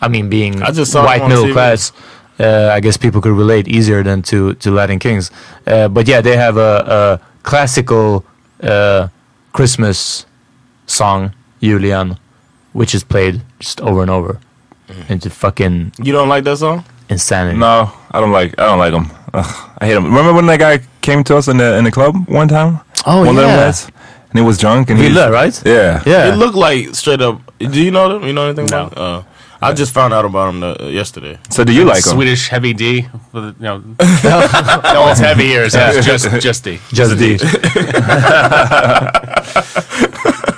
I mean, being
I just saw them
white
on
middle
TV.
class. Uh, I guess people could relate easier than to, to Latin Kings, uh, but yeah, they have a, a classical uh, Christmas song Julian, which is played just over and over.
Mm-hmm.
Into fucking
You don't like that song?
insanity.
No, I don't like. I don't like him. Ugh, I hate him. Remember when that guy came to us in the in the club one time?
Oh,
One of them
yeah.
lads? and he was drunk and he
Villa, right?
Yeah,
Yeah.
It looked like straight up. Do you know them? You know anything
No.
about? them? Uh, I just found out about them uh, yesterday.
So do you like him?
Swedish heavy D. With, you know, no, it's heavy here. So it's just just D.
Just D.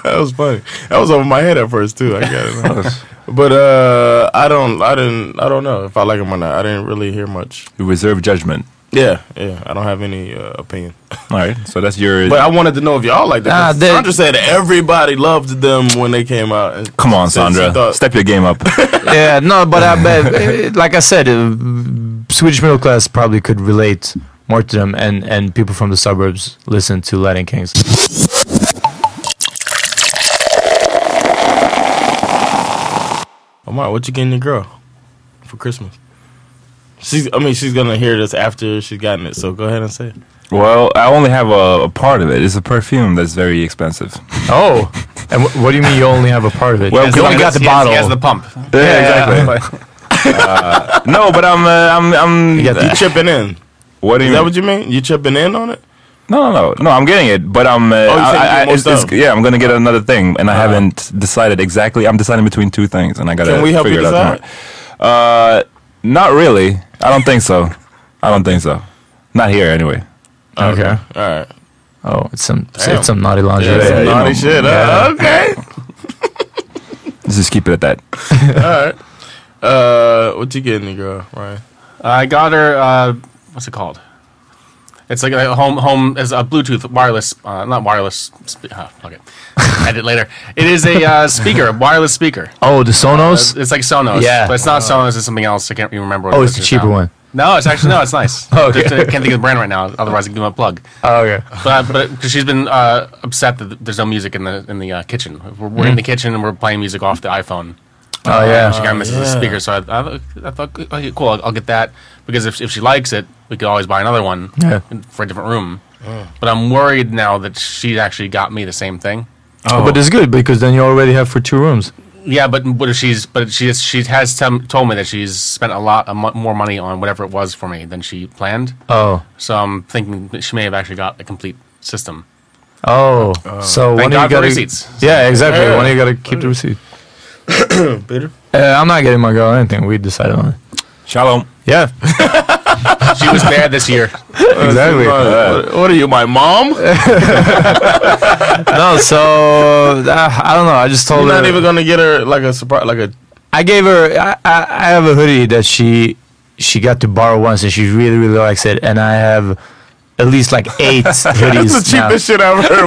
That was funny. That was over my head at first too. I got it. but uh, I don't. I didn't. I don't know if I like them or not. I didn't really hear much.
You reserve judgment.
Yeah, yeah. I don't have any uh, opinion.
All right, so that's your.
But I wanted to know if y'all like that.
Nah,
'cause
they-
Sandra said everybody loved them when they came out. and
Come on,
said she
Sandra,
thought-
step your game up.
yeah, no, but I bet, eh, like I said, uh, Swedish middle class probably could relate more to them, and, and people from the suburbs listen to Latin Kings.
Omar, what you getting your girl for Christmas? She's. I mean, she's gonna hear this after she's gotten it. So go ahead and say it.
well, I only have a, a part of it. It's a perfume that's very expensive.
Oh, and wh- what do you mean you only have a part of it?
Well, 'cause
you only
I
got
guess
the
He has-
bottle.
He has the pump.
Yeah, exactly. uh, no, but I'm. Uh, I'm. I'm.
got
You chipping in?
what do you?
Is that
mean?
what you mean? You chipping in on it?
No, no, no, no. I'm getting it, but I'm. Uh,
Oh, you said you
I, I,
get more
it's, it's,
stuff. Uh-huh.
yeah, I'm gonna get another thing, and I haven't decided exactly. I'm deciding between two things, and I gotta
Can we help you
figure it out
decide?
tomorrow. Uh, not really. I don't think so. I don't think so. Not here, anyway.
okay.
All right.
Oh, it's some
Damn.
it's some naughty lingerie.
Yeah,
That's
you
some
know,
naughty shit. huh?
yeah.
okay.
Let's just keep it at that.
Uh, what you getting, the girl? Right.
I got her. Uh, what's it called? It's like a home home as a Bluetooth wireless, uh, not wireless. Spe- uh, okay, edit later. It is a uh, speaker, a wireless speaker.
Oh, the Sonos.
It's like Sonos.
Yeah.
but it's not Sonos. It's something else. I can't even remember. What
Oh,
it
it's
is
the
just
cheaper
now.
one. Oh,
No, it's actually no. It's nice.
Okay.
Just, uh, can't think of the brand right now. Otherwise, I give them a plug.
Oh, okay.
But but because she's been uh, upset that there's no music in the in the uh, kitchen. We're, we're in the kitchen and we're playing music off the iPhone.
Hmm.
Uh,
Oh yeah.
She kind of misses the
yeah.
speaker, so I, I, I thought, okay, cool, I'll, I'll get that because if, if she likes it, we could always buy another one
Yeah.
for a different room. But I'm worried now that she actually got me the same thing.
But it's good because then you already have for two rooms.
Yeah, but but if she's but she is, she has tem- told me that she's spent a lot a mo- more money on whatever it was for me than she planned.
Oh.
So I'm thinking that she may have actually got a complete system.
Oh, so
Thank
one of
God
you
for
got
receipts.
Yeah, exactly.
Yeah.
One of you got to keep the receipt.
Bitter.
Uh, I'm not getting my girl anything. We decided on it.
Shalom.
Yeah,
She was bad this year.
exactly.
what, what are you, my mom? You're
no, so uh, I don't know. I just told her.
not even gonna get her like a surprise, like a.
I gave her. I, I, I have a hoodie that she she got to borrow once, and she really really likes it. And I have at least like eight hoodies.
That's the
now.
cheapest shit I've heard.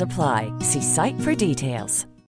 apply. See site for details.